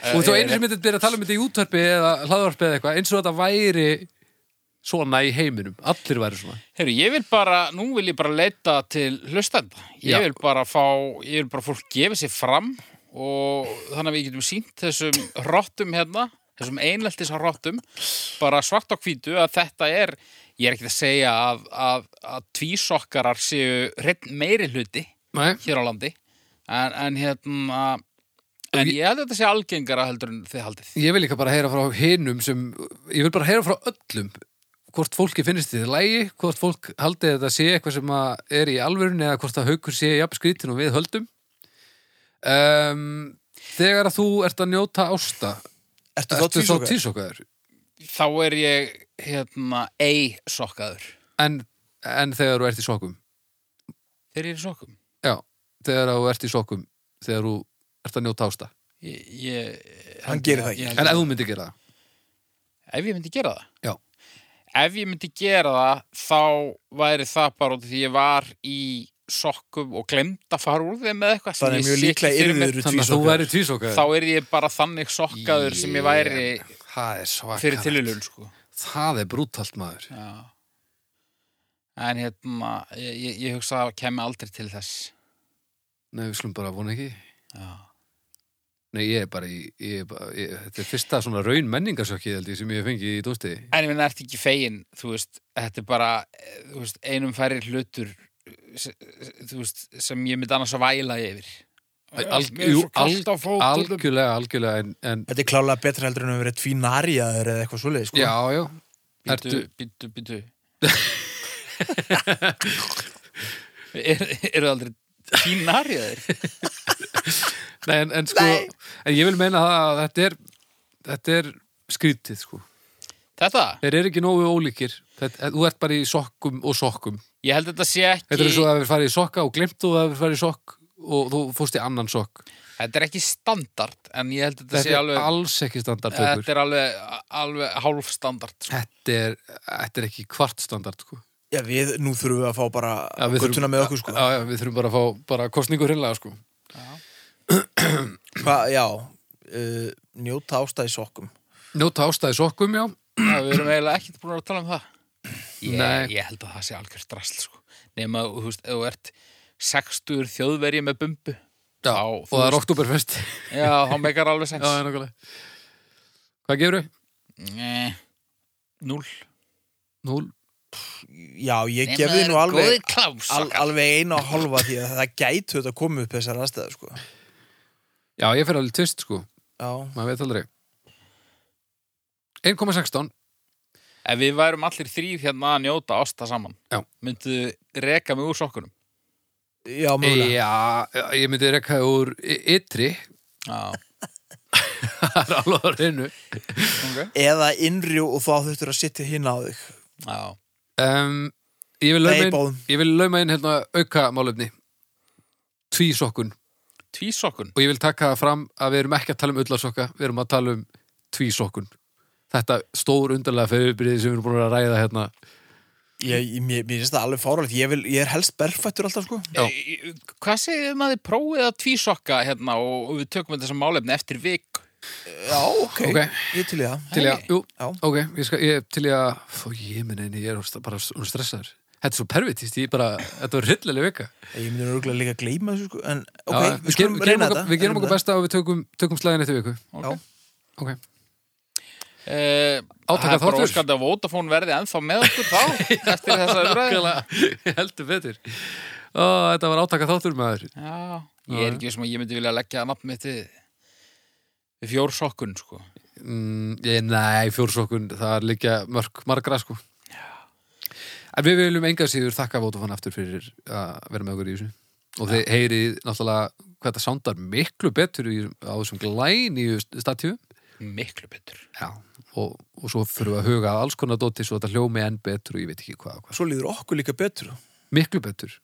Þú Eh, ert svo einu sem myndi byrja að tala um þetta í útvarpi eða hlaðvarpi eða eitthvað eins og þetta væri svona í heiminum Allir væri svona Herru, ég vil bara, nú vil ég bara leita til hlustanda. Ég Já. vil bara fá, ég vil bara að fólk gefa sér fram og þannig að við getum sínt þessum rottum hérna, þessum einlættis rottum, bara svart á hvítu að þetta er, ég er ekki að segja að, að, að tvísokkarar séu hreinn meiri hluti Nei, hér á landi, en, en hérna, en ég held að þetta sé algengara heldur en þið haldið. Ég vil líka bara heyra frá hinum sem, ég vil bara heyra frá öllum hvort fólki finnist þið lægi, hvort fólk haldið þetta sé eitthvað sem að er í alvörun eða hvort að haukur sé jafn skrítin og við höldum um, Þegar að þú ert að njóta ásta Ertu ertu þá þá tvísokkaður? tísokkaður Þá er ég, hérna, ei sokkaður. en, en þegar þú ert í sokkum Þeir eru sokkum. Já, þegar þú ert í sokkum þegar þú ert að njóta ásta Ég, ég, Hann gerir það ekki. Ég held En að- ef þú myndir gera það Ef ég myndi gera það? Já. Ef ég myndi gera það, þá væri það bara út af því ég var í sokkum og glemd að fara úr þeim með eitthvað sem Þannig ég mjög sé ekki líklega fyrir mér. yrður Þannig að þú tvísokkaður. væri tísokkaður Þá er ég bara þannig sokkaður sem ég væri Það er fyrir svakar tililun, sko. Það er brútalt maður Já. En hérna, ég, ég, ég hugsa að kemur aldrei til þess. Nei, við slum bara vona ekki Já. Nei, ég er bara í, ég er bara, ég, þetta er fyrsta svona raun menningarsökið held ég sem ég hef fengið í dósti. En ég minna, ert ekki fegin, þú veist, þetta er bara, eh, þú veist, einum færri hlutur, eh, se- se- þú veist, sem ég myndi annars að væla yfir. Alg- Mér er jú, svo kalt á fótunum. Algjörlega, algjörlega, en, en Þetta er klálega betra heldur en að vera tvínariðaður eða eitthvað svoleiði, sko. já, já, Býtu, Ertu- býtu, býtu er, Eru aldrei tínar í þeir? Nei, en, en sko, Nei. en ég vil meina það að þetta er, þetta er skrítið, sko. Þetta? Þeir eru ekki nógu ólíkir. Þetta, eh, þú ert bara í sokkum og sokkum. Ég held að þetta sé ekki Þetta er svo að við farið í sokka og glimt og að við farið í sokk og þú fórst í annan sokk. Þetta er ekki standard en ég held að þetta Þetta sé er alveg alls ekki standardtökur. Þetta er alveg, alveg hálf standard sko. Þetta er, þetta er ekki kvart standard, sko. Já, við, nú þurfum við að fá bara Já, við guttuna þurfum- með okkur, sko. Já, já, við þurfum bara að fá bara kostningu hreinlega, sko. Hva, já, uh, njóta ástæði sokkum. Njóta ástæði sokkum, já. Já, Við erum eiginlega ekkert búin að tala um það Nei. ég, ég held að það sé algjör drasl sko. Nefn að þú veist, ef þú ert 60 þjóðverið með bumbu Já, Á, og þú það er veist. oktoberfest. Já, þá meikar alveg já, 6 það er nokkulega. Hvað gefur þau? Nei, Núll Núl. Já, ég gefi nú Góði alveg, klás al, alveg eina og halva því að það gætu þetta komið upp þessar aðstæðu, sko. Já, ég fer alveg tvist, sko. Já, Maður veit aldrei. 1,16. Ef við værum allir þrýr hérna að njóta ásta saman Já. myndu reka mig úr sokkunum já, mögulega. Já, ég myndi rekka úr y- ytri. Já, Það er alveg að reynu. ok Eða innrjú og þá þurftur að sitja hinn á þig. Já, Um, ég, vil lauma Nei, inn, báðum. ég vil lauma inn hérna auka málefni. Tvísokkun. tvísokkun Og ég vil taka það fram að við erum ekki að tala um ullarsokka, við erum að tala um tvísokkun. Þetta stór undarlega fyrirbyrðið sem við erum búin að ræða hérna. Ég, ég, mér mér finnst það alveg fáralegt. Ég, vil, ég er helst berfættur alltaf, sko. Já. E- Hvað segir þið maður prófið að tvísokka hérna og og við tökum þetta sem málefni eftir vik Já, ok. Ok. Ég til í það. Til ég að, jú, Já. ok, ég, skal, ég til ég að, fó, ég minn einu, ég er orðst- bara orðinn stressaður. Þetta er svo pervitist, ég bara, þetta var hryllileg vika. Ég myndi nú örgulega líka að gleyma þessu, sko. En, ok, Já, við skulum gerum- gerum reyna okkur- þetta. Við gerum Reynum okkur besta og við tökum, tökum slæðin eftir viku. Já. Ok. Eh, Átaka Það er bara þáttur. óskandi að Vodafone verði ennþá með okkur þá eftir þessa umræði Nákvæmlega, heldur betur. Ó, þetta var átaka þáttur maður. Já, ég er ekki veist að ég myndi vilja leggja nafn mitt við við fjórsokkun sko Mm, ég, nei, fjórsokkun, það er líka mörg margra sko. En við viljum enga síður þakka Vótafan aftur fyrir að vera með okkur í þessu. Og þið heyrið náttúrulega hvað það sándar miklu betur í, á þessum glæn í statífum. miklu betur Já. Og, og svo þurfum við að huga að alls konar dóti svo þetta hljómi enn betur og ég veit ekki hvað. og hvað. uh, Svo líður okkur líka betur. Miklu betur.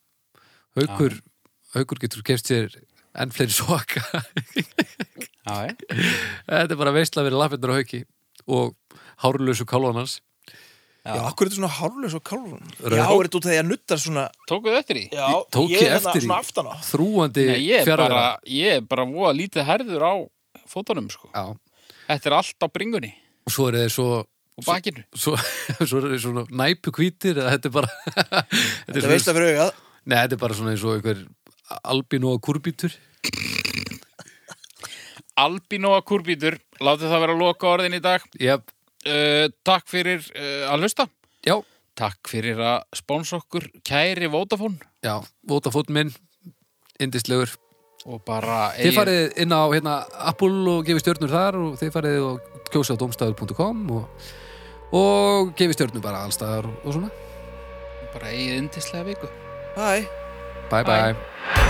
Haukur, haukur getur keft sér enn fleiri soka. Já, ég þetta er bara veistla verið lafindur á hauki og hárlösu kálvanans. Já. Já, akkur er þetta svona hárlaus á kálfunum? Rauð. Já, er þetta út af því að nutta svona... Tókuðu eftir því? Já, tók ég er hérna eftir í. svona aftan á. Þrúandi Nei, ég er bara, fjarlægðar. ég er bara voða lítið herður á fótunum sko Já, Þetta er allt á bringunni og svo eru þeir svo og bakinu svo, svo eru þeir svona næpu hvítir eða þetta er bara þetta er Þetta svona, veist að fyrir augað. Nei, þetta er bara svona eins og einhver albino og kurbítur Albinóa kurbítur, látið það vera loka orðin í dag yep. uh, Takk fyrir uh, að hlusta Já, Takk fyrir að spóns okkur kæri Vodafone já, vótafótt minn indislegur. og bara Þið eigið- farið inn á hérna, Apple og gefið stjörnur þar og þið farið og kjósa á domstafur.com og, og gefið stjörnur bara allstaðar og svona. bara eigið yndislega viku Hæ. Bye bye. Bye. bye.